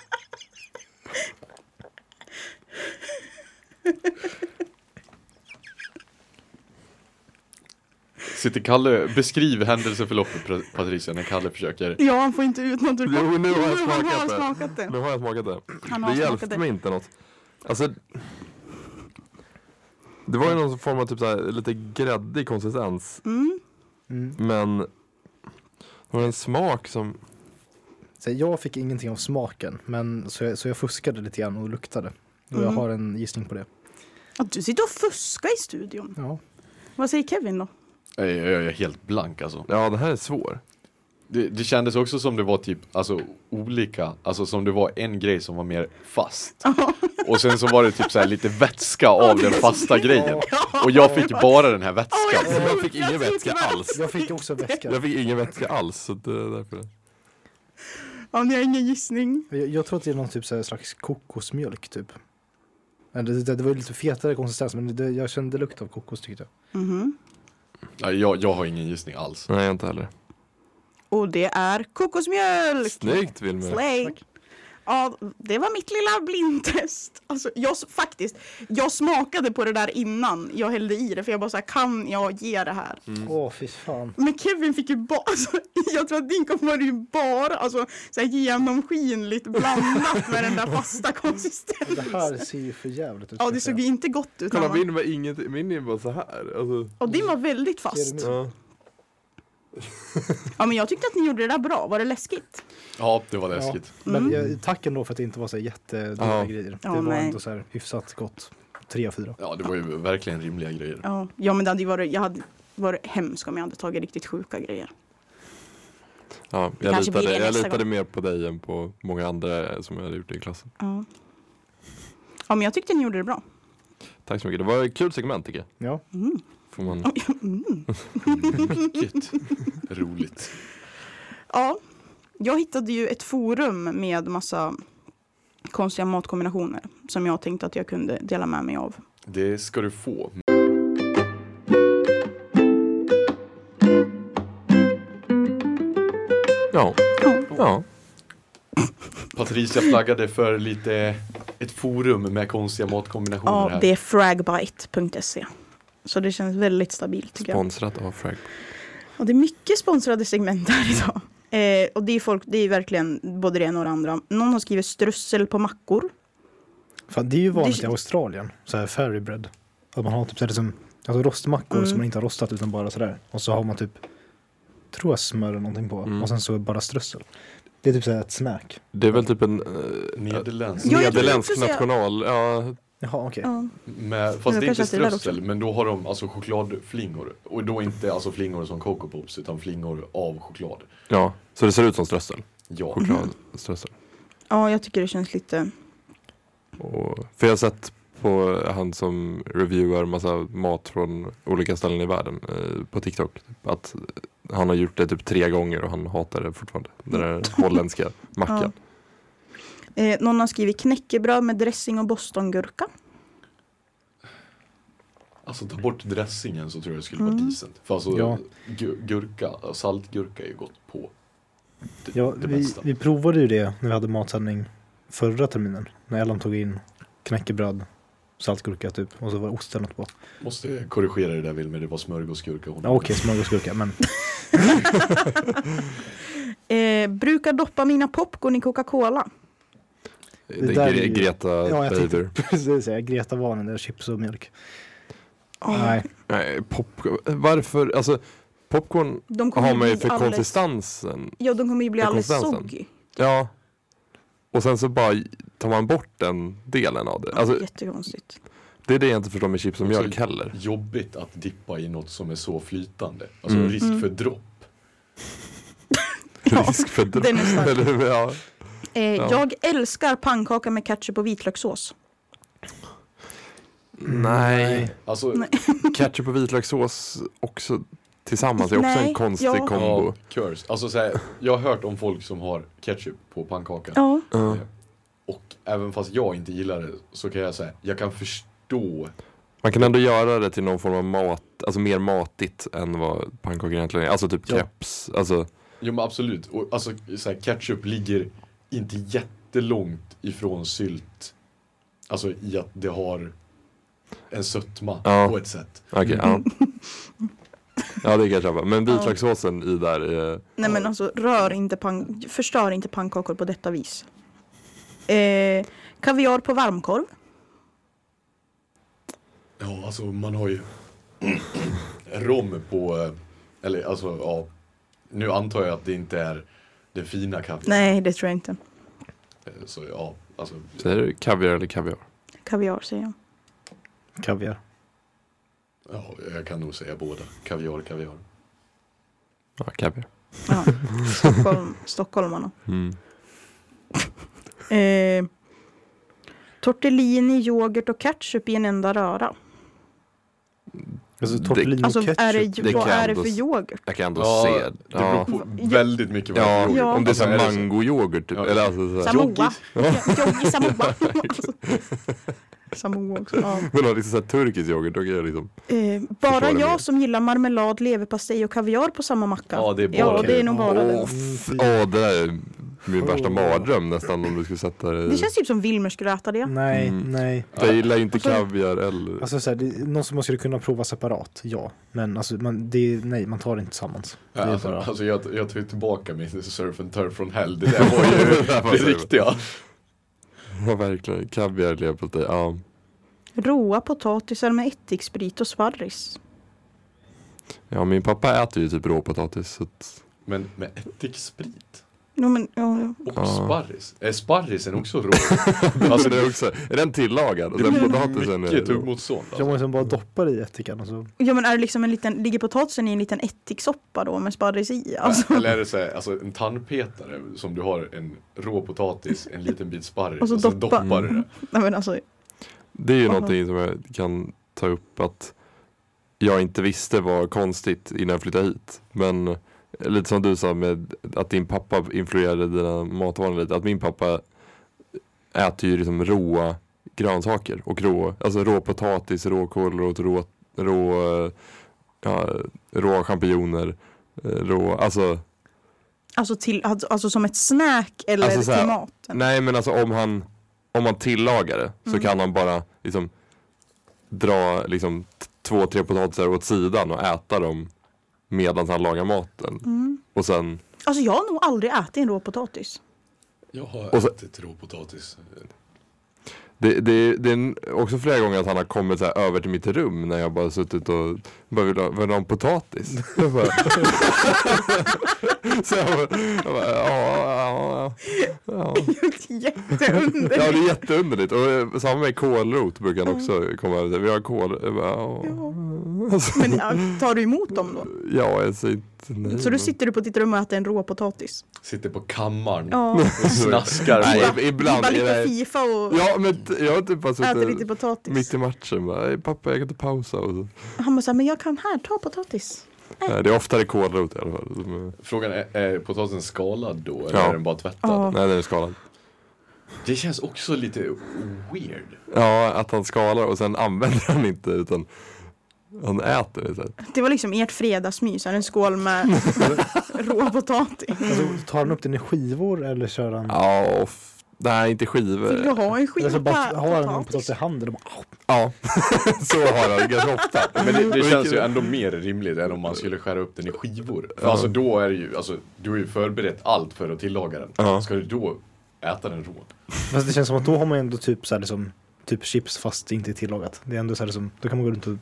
Speaker 2: Sitter Kalle, beskriv händelseförloppet Pra- Patricia när Kalle försöker.
Speaker 4: Ja, han får inte ut något ur
Speaker 5: Jo, nu har jag
Speaker 4: han
Speaker 5: smakat det.
Speaker 4: smakat det.
Speaker 5: Nu har jag smakat det.
Speaker 4: Han har
Speaker 5: Det
Speaker 4: smakat
Speaker 5: hjälpte
Speaker 4: det.
Speaker 5: mig inte något. Alltså, det var ju någon form av typ så här, lite gräddig konsistens.
Speaker 4: Mm.
Speaker 3: Mm.
Speaker 5: Men det var en smak som...
Speaker 3: Så jag fick ingenting av smaken, men så jag, så jag fuskade lite grann och luktade. Och jag
Speaker 4: Mm.
Speaker 3: har en gissning på det.
Speaker 4: Ja, du sitter och fuskar i studion.
Speaker 3: Ja.
Speaker 4: Vad säger Kevin då?
Speaker 2: Jag, jag, jag är helt blank alltså.
Speaker 5: Ja, det här är svår.
Speaker 2: Det, det kändes också som det var typ, alltså olika, alltså som det var en grej som var mer fast. Och sen så var det typ så här lite vätska av den fasta grejen. Och jag fick bara den här vätskan.
Speaker 5: Jag fick ingen vätska alls.
Speaker 3: Jag fick också vätska.
Speaker 5: Jag fick ingen vätska alls. Så det är därför.
Speaker 4: Ja, ni har ingen gissning.
Speaker 3: Jag, jag tror att det är någon typ så här slags kokosmjölk typ. Men Det, det, det var ju lite fetare konsistens, men det, jag kände lukt av kokos tyckte jag.
Speaker 4: Mhm.
Speaker 2: Nej, Jag, jag har ingen gissning alls.
Speaker 5: Nej, inte heller.
Speaker 4: Och det är kokosmjölk.
Speaker 5: Snyggt Wilmer.
Speaker 4: Slay. Ja, det var mitt lilla blindtest. Alltså, jag, s- faktiskt, jag smakade på det där innan jag hällde i det för jag bara så här, kan jag ge det här?
Speaker 5: Mm.
Speaker 3: Åh, fy fan.
Speaker 4: Men Kevin fick ju bara, alltså, jag tror att din kopp var ju bara alltså, så här genomskinligt blandat med den där fasta konsistensen.
Speaker 3: Det här ser ju för jävligt ut.
Speaker 4: Ja,
Speaker 3: ska
Speaker 4: det
Speaker 3: jag
Speaker 4: såg
Speaker 3: säga.
Speaker 4: ju inte gott ut. när
Speaker 5: Kolla
Speaker 4: man-
Speaker 5: min var ingenting, min är bara så här. Alltså,
Speaker 4: Och din var väldigt
Speaker 3: Ser
Speaker 4: fast.
Speaker 3: du nu?
Speaker 5: ja.
Speaker 4: Ja, men jag tyckte att ni gjorde det där bra. Var det läskigt?
Speaker 2: Ja, det var läskigt.
Speaker 3: Men jag, tack ändå för att det inte var så här jättedåliga
Speaker 5: Ja.
Speaker 3: grejer.
Speaker 4: Mm. Ja,
Speaker 3: det var
Speaker 4: nej.
Speaker 3: ändå så här hyfsat gott. Tre av fyra.
Speaker 2: Ja, det var ju verkligen rimliga grejer.
Speaker 4: Ja, ja men det hade ju varit, jag hade varit hemskt om jag hade tagit riktigt sjuka grejer.
Speaker 5: Ja, jag
Speaker 4: kanske blir
Speaker 5: litade,
Speaker 4: det
Speaker 5: jag
Speaker 4: nästa
Speaker 5: litade
Speaker 4: gång.
Speaker 5: mer på dig än på många andra som jag hade gjort i klassen.
Speaker 4: Ja. ja, men jag tyckte ni gjorde det bra.
Speaker 5: Tack så mycket. Det var ett kul segment tycker jag.
Speaker 3: Ja,
Speaker 4: Mm.
Speaker 5: Får man...
Speaker 2: Mycket roligt.
Speaker 4: Ja, jag hittade ju ett forum med massa konstiga matkombinationer som jag tänkte att jag kunde dela med mig av.
Speaker 2: Det ska du få.
Speaker 5: Ja.
Speaker 4: Oh, Ja.
Speaker 5: ja.
Speaker 2: Patricia flaggade för lite ett forum med konstiga matkombinationer
Speaker 4: Ja,
Speaker 2: här.
Speaker 4: det är fragbite.se. E. Så det känns väldigt stabilt tycker jag.
Speaker 5: Sponsrat av Frag.
Speaker 4: Ja, det är mycket sponsrade segment här idag. Eh, och det är, folk, det är verkligen både det ena och det andra. Någon har skrivit strössel på mackor.
Speaker 3: Fan, det är ju vanligt i
Speaker 4: Det-
Speaker 3: Australien, så här ferry bread. Att man har typ så här, liksom, alltså rostmackor
Speaker 4: Mm.
Speaker 3: som man inte har rostat utan bara sådär. Och så har man typ, tror jag smör eller någonting på. Och sen så bara strössel. Det är typ såhär ett snack.
Speaker 5: Det är väl typ en eh,
Speaker 2: Nederländskt.
Speaker 4: Ja, jag tänkte
Speaker 5: nederländsk
Speaker 4: också säga-
Speaker 5: national. Ja,
Speaker 3: Jaha, okej.
Speaker 4: Ja.
Speaker 2: Med,
Speaker 4: Men
Speaker 2: fast
Speaker 4: det
Speaker 2: det är
Speaker 4: kanske
Speaker 2: inte
Speaker 4: jag gillar
Speaker 2: strössel, men då har de alltså chokladflingor. Och då inte alltså flingor som Coco Pops, utan flingor av choklad.
Speaker 5: ja, så det ser ut som strössel.
Speaker 2: Ja.
Speaker 5: Chokladströssel.
Speaker 4: ja, jag tycker det känns lite...
Speaker 5: Och, för jag har sett på han som reviewar massa mat från olika ställen i världen eh, på TikTok. Typ, att han har gjort det typ tre gånger och han hatar det fortfarande. Den där holländska mackan.
Speaker 4: Eh, någon har skrivit knäckebröd med dressing och bostongurka.
Speaker 2: Alltså ta bort dressingen så tror jag det skulle vara
Speaker 4: Mm.
Speaker 2: decent. För alltså
Speaker 3: Ja.
Speaker 2: gu- gurka, saltgurka är ju gott på det,
Speaker 3: Ja,
Speaker 2: det
Speaker 3: vi,
Speaker 2: mesta.
Speaker 3: vi provade ju det när vi hade matsändning förra terminen. När Ellen tog in knäckebröd, saltgurka typ. Och så var det ost eller något på.
Speaker 2: Måste korrigera det där Wilmer, det var smörgåsgurka hon
Speaker 3: Ja, okej, smörgåsgurka. Men
Speaker 4: Eh, brukar doppa mina popcorn i Coca-Cola.
Speaker 5: Det,
Speaker 3: där
Speaker 5: är
Speaker 3: är
Speaker 5: Gre-
Speaker 3: ju-
Speaker 5: Greta
Speaker 3: ja, jag
Speaker 5: Bader.
Speaker 3: tänkte precis säga Greta var den där chips och mjölk.
Speaker 4: Ah.
Speaker 3: Nej,
Speaker 5: Nej, popcorn. Varför? Alltså, popcorn
Speaker 4: De kommer
Speaker 5: har
Speaker 4: ju
Speaker 5: man ju
Speaker 4: bli
Speaker 5: för
Speaker 4: alldeles-
Speaker 5: konsistensen.
Speaker 4: Ja, de kommer ju bli
Speaker 5: för
Speaker 4: alldeles
Speaker 5: konsistensen.
Speaker 4: soggy.
Speaker 5: Ja. Och sen så bara tar man bort den delen av det. Alltså,
Speaker 4: Jättekonstigt.
Speaker 5: det är det jag inte förstår med chips och
Speaker 2: Också-
Speaker 5: mjölk heller.
Speaker 2: Jobbigt att dippa i något som är så flytande. Alltså
Speaker 5: Mm.
Speaker 2: risk för dropp.
Speaker 5: Risk för dropp.
Speaker 4: den är stark.
Speaker 5: Eller hur? Ja.
Speaker 4: Eh, Jag älskar pannkaka med ketchup och vitlökssås.
Speaker 5: Nej.
Speaker 2: Alltså,
Speaker 5: Ketchup och vitlökssås också tillsammans är också
Speaker 4: Nej,
Speaker 5: en konstig
Speaker 4: ja.
Speaker 5: kombo.
Speaker 2: Ja, curse. Alltså så här, jag har hört om folk som har ketchup på pannkakan.
Speaker 4: Ja.
Speaker 5: Ja.
Speaker 2: Och även fast jag inte gillar det så kan jag säga, jag kan förstå.
Speaker 5: Man kan ändå göra det till någon form av mat, alltså mer matigt än vad pannkakor egentligen är. Alltså typ
Speaker 2: Ja.
Speaker 5: crepes. Alltså,
Speaker 2: Jo men absolut. Och, alltså så här, ketchup ligger inte jättelångt ifrån sylt. Alltså i att det har en sötma
Speaker 5: Ja.
Speaker 2: på ett sätt.
Speaker 5: okej. ja. Ja det kan jag köpa. Men vitlökssåsen i där. eh,
Speaker 4: Nej men alltså rör inte pann- förstör inte pannkakor på detta vis. Eh, kaviar på varmkorv.
Speaker 2: Ja, alltså man har ju rom på, eh, eller alltså ja, nu antar jag att det inte är den fina kaviaren.
Speaker 4: Nej det tror jag inte.
Speaker 2: Eh, Så ja, alltså.
Speaker 5: Säger du kaviar eller kaviar?
Speaker 4: Kaviar säger jag.
Speaker 3: Kaviar.
Speaker 2: Ja, jag kan nog säga båda. Kaviar, kaviar.
Speaker 5: Ja, kaviar.
Speaker 4: Ja. Stockholm, stockholmarna.
Speaker 5: Mm.
Speaker 4: Eh, tortellini, yoghurt och ketchup i en enda röra.
Speaker 3: Alltså
Speaker 5: Det-
Speaker 3: tortellini
Speaker 4: Alltså
Speaker 3: och ketchup.
Speaker 4: är det,
Speaker 5: det
Speaker 4: ju- vad
Speaker 5: kan
Speaker 4: är det
Speaker 5: ändå
Speaker 4: för
Speaker 5: s-
Speaker 4: yoghurt?
Speaker 5: Jag kan ändå
Speaker 2: Ja,
Speaker 5: se.
Speaker 2: det
Speaker 5: Ja.
Speaker 2: beror på
Speaker 4: Ja.
Speaker 2: väldigt mycket vad
Speaker 5: Ja,
Speaker 2: det beror på.
Speaker 5: om det är
Speaker 2: Alltså,
Speaker 5: såhär
Speaker 2: är det så-
Speaker 5: mangoyoghurt typ.
Speaker 2: Ja.
Speaker 5: Eller alltså såhär,
Speaker 4: Samoa. Yogi Samoa. alltså. Samoa också. Ja.
Speaker 5: vill ha liksom såhär turkisk yoghurt, då kan jag liksom
Speaker 4: Eh,
Speaker 5: Förstår
Speaker 4: bara
Speaker 5: det mer.
Speaker 4: jag som gillar marmelad, leverpastej och kaviar på samma macka.
Speaker 2: Ja, det är bara
Speaker 4: ja,
Speaker 2: du.
Speaker 4: det är nog
Speaker 5: Åh,
Speaker 4: bara du.
Speaker 5: f- åh, det där är min värsta
Speaker 3: Åh.
Speaker 5: mardröm nästan om du skulle sätta det
Speaker 4: Det
Speaker 5: i.
Speaker 4: känns typ som Wilmer skulle äta det.
Speaker 3: Nej,
Speaker 5: Mm.
Speaker 3: nej.
Speaker 5: Jag gillar ju inte
Speaker 4: Alltså-
Speaker 5: kaviar eller.
Speaker 3: Alltså så här, det är någon som man skulle kunna prova separat, ja. Men alltså, man, det är, nej, man tar det inte tillsammans. Det
Speaker 2: Ja,
Speaker 3: är
Speaker 2: alltså,
Speaker 3: bara...
Speaker 2: alltså jag, jag tar tillbaka min surf and turf från hell. Det där var ju
Speaker 5: Det där var så-
Speaker 2: det riktiga.
Speaker 5: Ja verkligen, kaviar, leverpastej, ja.
Speaker 4: Råa potatisar med ättiksprit och sparris.
Speaker 5: Ja min pappa äter ju typ råpotatis. Så att,
Speaker 2: Men med ättiksprit
Speaker 4: No, men, ja, ja.
Speaker 2: och
Speaker 5: Ja.
Speaker 2: sparris. Är sparrisen också rå?
Speaker 5: alltså
Speaker 2: alltså
Speaker 5: det är,
Speaker 2: det
Speaker 5: också, är den tillagad? Och
Speaker 2: det
Speaker 5: den
Speaker 2: blir
Speaker 5: potatisen
Speaker 2: mycket
Speaker 5: är
Speaker 2: tuggmotstånd.
Speaker 3: Jag
Speaker 2: Alltså.
Speaker 3: måste bara doppa det i alltså. ättikan och så.
Speaker 4: ja men är det liksom en liten, ligger potatisen i en liten ättiksoppa då med sparris i? Alltså,
Speaker 2: Eller är det så här, alltså en tandpetare som du har en rå potatis, en liten bit sparris
Speaker 4: Och
Speaker 2: och
Speaker 4: så
Speaker 2: så,
Speaker 4: doppa.
Speaker 2: doppar du det.
Speaker 4: nej men alltså,
Speaker 5: Det är ju
Speaker 4: Aha.
Speaker 5: någonting som jag kan ta upp att jag inte visste var konstigt innan jag flyttade hit. Men eh, lite som du sa med att din pappa influerade dina matvanor lite. Att min pappa äter ju liksom råa grönsaker och rå, alltså rå potatis, rå kålrot, rå, rå, eh, ja, rå champinjoner. eh, Rå, alltså,
Speaker 4: alltså, till, alltså, alltså som ett snack eller
Speaker 5: Alltså så här-
Speaker 4: till maten.
Speaker 5: nej men alltså om han, om han tillagar det så
Speaker 4: Mm.
Speaker 5: kan han bara liksom dra liksom t- två, tre potatisar åt sidan och äta dem medan han lagar maten.
Speaker 4: Mm.
Speaker 5: Och sen,
Speaker 4: Alltså jag har nog aldrig ätit en råpotatis.
Speaker 2: Jag
Speaker 5: Och
Speaker 2: har
Speaker 5: så-
Speaker 2: ätit rå potatis.
Speaker 5: det, det, det är en- också flera gånger att han har kommit så här över till mitt rum när jag bara suttit och bara vill ha, vill ha en potatis. Jag bara, så jag bara, jag bara ja, ja, ja, ja. Ja det
Speaker 4: Jätteunderligt.
Speaker 5: är jätteunderligt och eh, samma med kålrot brukar han också komma över till. Vi har kål, jag bara, ja.
Speaker 4: Ja.
Speaker 5: Alltså,
Speaker 4: Men ja, tar du emot dem då?
Speaker 5: ja jag säger inte nej.
Speaker 4: Så
Speaker 5: men-
Speaker 4: då sitter du på ditt rum och äter en råpotatis?
Speaker 2: Sitter på kammaren
Speaker 4: Ja.
Speaker 2: och snaskar.
Speaker 5: Nej,
Speaker 2: på-
Speaker 5: ib- ibland.
Speaker 4: Dibbar
Speaker 5: är
Speaker 4: lite
Speaker 5: det-
Speaker 4: Fifa och
Speaker 5: Ja men t- jag har typ bara
Speaker 4: äter lite
Speaker 5: suttit
Speaker 4: potatis.
Speaker 5: mitt i matchen bara, "Ey, pappa jag kan inte pausa och så.
Speaker 4: Han bara såhär, men jag kan här, ta potatis.
Speaker 5: Nej, Det är oftare kålrot i alla fall. som är-
Speaker 2: Frågan är, är potatisen skalad då eller
Speaker 5: Ja.
Speaker 2: är den bara tvättad?
Speaker 4: Ja.
Speaker 5: Nej den är skalad.
Speaker 2: Det känns också lite weird.
Speaker 5: Ja att han skalar och sen använder han inte utan han äter det sen.
Speaker 4: Det var liksom ert fredagsmys, här, en skål med råpotatis.
Speaker 3: Alltså, tar han upp den i skivor eller kör han?
Speaker 5: Ja, och f- nej inte
Speaker 4: Vill du
Speaker 5: skivor.
Speaker 4: ha en
Speaker 3: Eller så
Speaker 4: skiva
Speaker 3: bara har han en
Speaker 4: potatis?
Speaker 3: potatis i handen och bara...
Speaker 5: Ja, så har han det ganska ofta.
Speaker 2: Men det, det
Speaker 5: Mm.
Speaker 2: känns ju ändå mer rimligt än om man skulle skära upp den i skivor. För
Speaker 5: Ja.
Speaker 2: alltså då är det ju, alltså du har ju förberett allt för att tillaga den.
Speaker 5: Ja.
Speaker 2: Ska du då äta den rå?
Speaker 3: Fast det känns som att då har man ändå typ så här liksom, typ chips fast inte tillagat. Det är ändå så här liksom, då kan man gå runt och...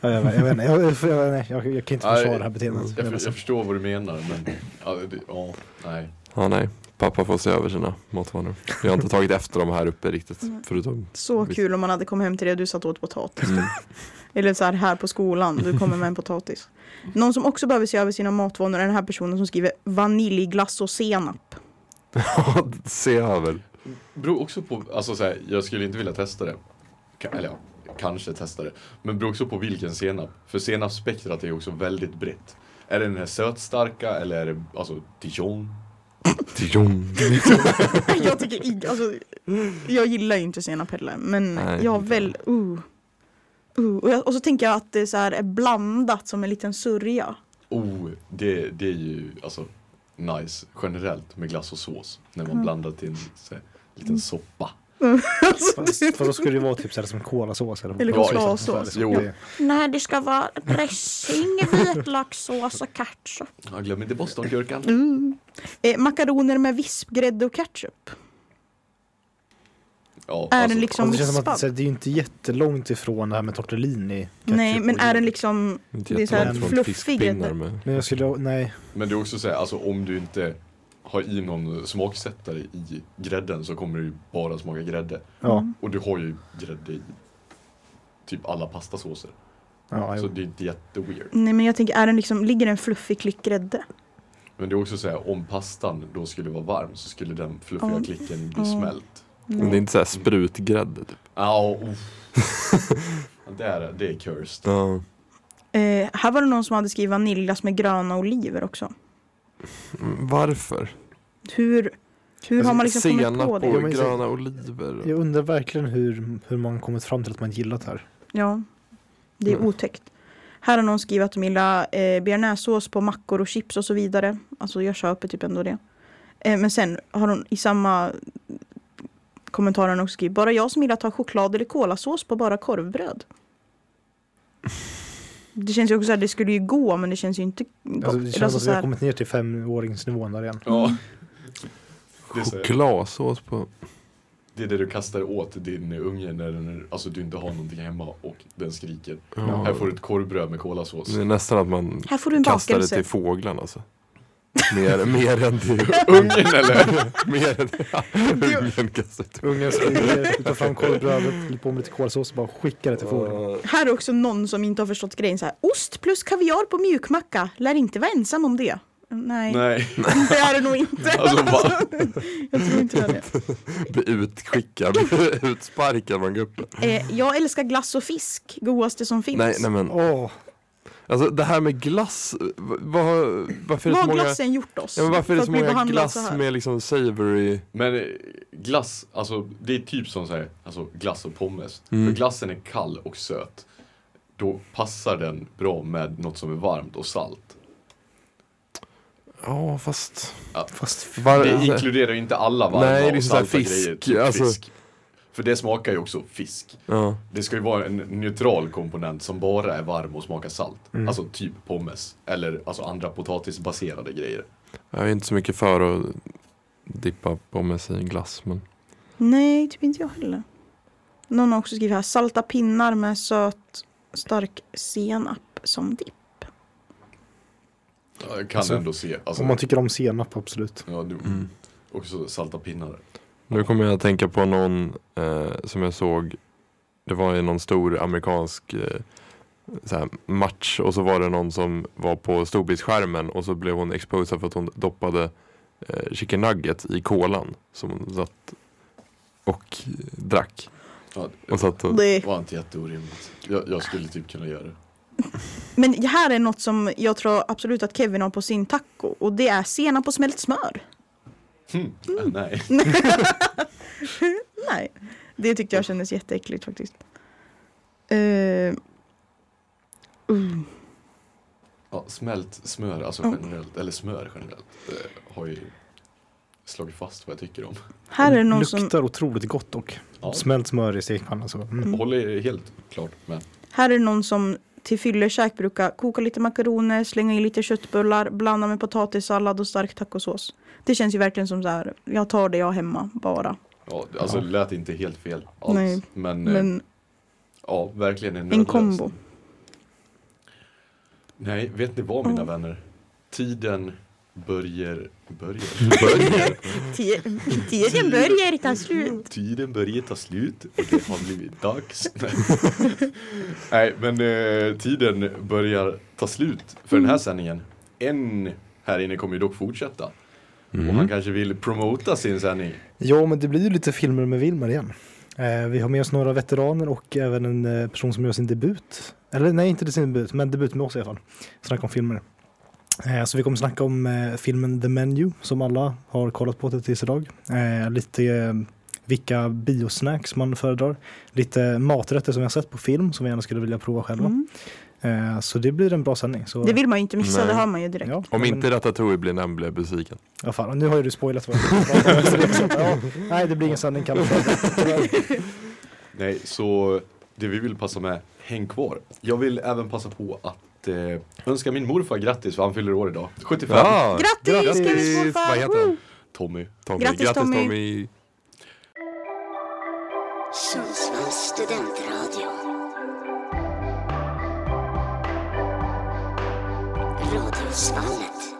Speaker 3: Ja, jag, vet- jag vet inte, jag, jag, jag, nej, jag, jag kan inte
Speaker 2: Nej,
Speaker 3: försvara det här beteendet.
Speaker 2: Jag, för, jag förstår vad du menar men, ja, det, ja nej.
Speaker 5: Ja, nej. Pappa får se över sina matvanor. Jag har inte tagit efter dem här uppe riktigt. Förutom...
Speaker 4: Så kul om man hade kommit hem till det och du satt och åt potatis.
Speaker 3: Mm.
Speaker 4: Eller så här, här på skolan, du kommer med en potatis. Någon som också behöver se över sina matvanor är den här personen som skriver vaniljglass och senap.
Speaker 5: Ja, se över.
Speaker 2: Beror också på, alltså så här, jag skulle inte vilja testa det. Ka- Eller ja, kanske testa det. Men beror också på vilken senap. För senapsspektrat är ju också väldigt brett. Är det den här sötstarka eller är det alltså dijon?
Speaker 5: Dijon.
Speaker 4: jag tycker ig- alltså, jag gillar ju inte senap heller men
Speaker 5: Nej,
Speaker 4: jag
Speaker 5: inte
Speaker 4: väl, uh, uh. Och, jag, och så tänker jag att det så här är blandat som en liten sörja.
Speaker 2: Oh, det, det är ju alltså
Speaker 4: Mm.
Speaker 2: nice generellt med glass och sås. När man blandar till en så här, liten soppa.
Speaker 4: Alltså,
Speaker 3: Fast, fast då skulle det vara typ så här som kolasås. Eller,
Speaker 4: Eller
Speaker 3: Ja,
Speaker 4: chokladasås.
Speaker 3: liksom, så här,
Speaker 2: Jo.
Speaker 3: liksom. Det-
Speaker 6: Nej, det ska vara dressing, vitlökssås och ketchup.
Speaker 2: Ja, glöm inte bostongurkan.
Speaker 4: mm. eh, makaroner med vispgrädde och ketchup.
Speaker 2: Ja,
Speaker 4: Är
Speaker 2: alltså,
Speaker 4: den
Speaker 3: Alltså,
Speaker 4: liksom
Speaker 3: det känns som att
Speaker 4: vispad?
Speaker 3: så här, det är ju inte jättelångt ifrån det här med tortellini. ketchup
Speaker 4: Nej, men
Speaker 3: och-
Speaker 4: är den liksom...
Speaker 5: Inte
Speaker 4: Det är så här typ.
Speaker 5: jättelångt från
Speaker 4: fluffig
Speaker 5: fiskpinnar
Speaker 4: grädde.
Speaker 5: med.
Speaker 3: Men jag skulle, nej.
Speaker 2: Men det är också så här, alltså om du inte har i någon smaksättare i grädden så kommer det ju bara smaka grädde.
Speaker 3: Ja,
Speaker 4: Mm.
Speaker 2: Och du har ju grädde i typ alla pastasåser.
Speaker 3: ja,
Speaker 2: så
Speaker 3: jo.
Speaker 2: det är inte jätteweird.
Speaker 4: Nej, men jag tänker, är den liksom... Ligger det en fluffig klick grädde?
Speaker 2: Men det är också så här, om pastan då skulle vara varm så skulle den fluffiga
Speaker 4: Ja.
Speaker 2: klicken bli
Speaker 4: Ja.
Speaker 2: smält.
Speaker 5: Men det är inte så här sprutgrädde typ.
Speaker 2: Ja, uff. det, är, det är cursed.
Speaker 5: Ja.
Speaker 4: Eh, här var det någon som hade skrivit vaniljglass med gröna oliver också.
Speaker 5: Mm, Varför?
Speaker 4: Hur, hur har man liksom kommit
Speaker 5: senap
Speaker 4: på
Speaker 5: och
Speaker 4: det?
Speaker 3: men så-
Speaker 5: gröna oliver.
Speaker 3: Jag undrar verkligen hur, hur man kommit fram till att man gillat det här.
Speaker 4: Ja, det är
Speaker 5: Mm.
Speaker 4: otäckt. Här har någon skrivit att de gillar eh, bearnaisesås på mackor och chips och så vidare. Alltså jag köper typ ändå det. Eh, men sen har hon i samma kommentar hon också skrivit bara jag som gillar att ha choklad eller kolasås på bara korvbröd. Det känns ju också så här, det skulle ju gå men det känns ju inte gott.
Speaker 3: Alltså, det
Speaker 4: Eller
Speaker 3: känns som
Speaker 4: alltså
Speaker 3: att
Speaker 4: så
Speaker 3: vi
Speaker 4: här-
Speaker 3: har kommit ner till femåringsnivån där igen.
Speaker 2: Ja. Det är, så här,
Speaker 5: Chokladsås på.
Speaker 2: det är det du kastar åt din unge när den, alltså, du inte har någonting hemma och den skriker.
Speaker 5: Ja.
Speaker 2: Här får du ett korvbröd med kolasås.
Speaker 5: Det är nästan att man
Speaker 4: Här får du en
Speaker 5: kastar det
Speaker 4: bakelse.
Speaker 5: till fåglarna alltså. Mer, mer än till
Speaker 2: Ungen eller?
Speaker 5: mer än till ungen kastar det till
Speaker 3: Ungen springer, tar fram korvbrödet, häller på med lite kolsås och bara skickar det till fågeln.
Speaker 4: Här är också någon som inte har förstått grejen så här. Ost plus kaviar på mjukmacka. Lär inte vara ensam om det. Nej,
Speaker 2: Nej.
Speaker 4: det är det nog inte.
Speaker 2: Alltså, va?
Speaker 4: jag tror inte det. Är det.
Speaker 5: Bli utskickad, utsparkad från gruppen.
Speaker 4: Eh, jag älskar glass och fisk. Godaste som finns.
Speaker 5: Nej, nej men.
Speaker 3: Åh,
Speaker 5: Alltså det här med glass. v- Vad, har- varför är
Speaker 4: Vad
Speaker 5: det
Speaker 4: har
Speaker 5: så många,
Speaker 4: glassen gjort oss?
Speaker 5: ja, men varför är
Speaker 4: för
Speaker 5: det
Speaker 4: att
Speaker 5: så
Speaker 4: bli
Speaker 5: många
Speaker 4: behandlade
Speaker 5: glass
Speaker 4: så här?
Speaker 5: med liksom savory?
Speaker 2: Men eh, glass, alltså det är typ som så här, alltså glass och pommes.
Speaker 5: Mm.
Speaker 2: För glassen är kall och söt. Då passar den bra med något som är varmt och salt.
Speaker 5: Ja fast.
Speaker 3: fast
Speaker 5: Var,
Speaker 2: Det inkluderar ju inte alla varma
Speaker 5: alltså. Nej, det är
Speaker 2: och
Speaker 5: så här
Speaker 2: salta
Speaker 5: fisk,
Speaker 2: grejer. Typ
Speaker 5: alltså.
Speaker 2: fisk. För det smakar ju också fisk.
Speaker 5: ja.
Speaker 2: Det ska ju vara en neutral komponent som bara är varm och smakar salt.
Speaker 5: Mm.
Speaker 2: Alltså typ pommes. Eller alltså andra potatisbaserade grejer.
Speaker 5: Jag är inte så mycket för att dippa pommes i glass men.
Speaker 4: Nej, typ inte jag heller. Någon har också skrivit här. Salta pinnar med söt stark senap som dipp.
Speaker 2: Jag kan
Speaker 3: Alltså,
Speaker 2: ändå se. Alltså,
Speaker 3: om man tycker om senap, absolut.
Speaker 2: ja, du,
Speaker 5: Mm.
Speaker 2: Också salta pinnar.
Speaker 5: Nu kommer jag att tänka på någon eh, som jag såg. Det var i någon stor amerikansk eh, så här, match och så var det någon som var på storbildsskärmen och så blev hon exposad för att hon doppade eh, chicken nuggets i kolan som hon satt och drack.
Speaker 2: Ja,
Speaker 5: Hon satt och,
Speaker 4: Det...
Speaker 2: Det var inte jätteorimligt. Jag, jag skulle typ kunna göra det.
Speaker 4: Men det här är något som jag tror absolut att Kevin har på sin taco. Och det är senap och smält smör. Mm.
Speaker 2: Äh, nej.
Speaker 4: Nej, det tyckte jag kändes jätteäckligt faktiskt. Eh,
Speaker 2: Ja, smält smör, alltså
Speaker 4: Ja.
Speaker 2: generellt, eller smör generellt, eh, har ju slagit fast vad jag tycker om.
Speaker 4: här är det någon som,
Speaker 3: Luktar otroligt gott dock.
Speaker 2: Ja,
Speaker 3: Smält smör i stekpannan så. Mm.
Speaker 2: håller helt klart med.
Speaker 4: här är det någon som till fyllekäk brukar koka lite makaroner, slänga i lite köttbullar, blanda med potatissallad och stark tacosås. Det känns ju verkligen som så här, jag tar det jag har hemma bara.
Speaker 2: Ja, det- alltså
Speaker 3: Ja.
Speaker 2: det lät inte helt fel alls.
Speaker 4: Nej,
Speaker 2: men, eh,
Speaker 4: Men
Speaker 2: ja, verkligen en
Speaker 4: en
Speaker 2: nödlösning.
Speaker 4: kombo.
Speaker 2: Nej, vet ni vad mina
Speaker 4: Ja.
Speaker 2: vänner? Tiden börjar... Börjar?
Speaker 6: Tiden börjar ta slut.
Speaker 2: Tiden börjar ta slut och det har blivit dags. Nej, Nej men eh, tiden börjar ta slut för den här sändningen. En här inne kommer ju dock fortsätta. Och
Speaker 5: Mm.
Speaker 2: han kanske vill promota sin sändning.
Speaker 3: Ja, men det blir ju lite filmer med Wilmer igen. Eh, vi har med oss några veteraner och även en eh, person som gör sin debut. Eller nej, inte sin debut, men debut med oss i alla fall. Snacka om filmer. Eh, så vi kommer snacka om eh, filmen The Menu som alla har kollat på till- tills idag. Eh, lite eh, vilka biosnacks man föredrar. Lite maträtter som vi har sett på film som vi gärna skulle vilja prova själva.
Speaker 4: Mm.
Speaker 3: Eh, Så det blir en bra sändning. Så,
Speaker 4: Det vill man ju inte missa,
Speaker 5: Nej.
Speaker 4: det hör man ju direkt.
Speaker 3: ja,
Speaker 5: Om
Speaker 3: men-
Speaker 5: inte Ratatouille blir nämnd blir jag besviken.
Speaker 3: Ja, fan, nu har ju du spoilat vad jag tänkte prata om, så det är liksom, ja, Nej, det blir ingen sändning Kalle.
Speaker 2: Nej, så det vi vill passa med, häng kvar. Jag vill även passa på att eh, önska min morfar grattis för han fyller år idag. 75.
Speaker 5: Ja!
Speaker 4: Grattis,
Speaker 3: Grattis!
Speaker 4: Grattis
Speaker 5: Vad
Speaker 4: morfar!
Speaker 5: heter han?
Speaker 4: Woo!
Speaker 2: Tommy.
Speaker 5: Tommy.
Speaker 4: Grattis, Tommy.
Speaker 5: Tommy.
Speaker 1: Sundsvalls studentradio. Radiosvallet.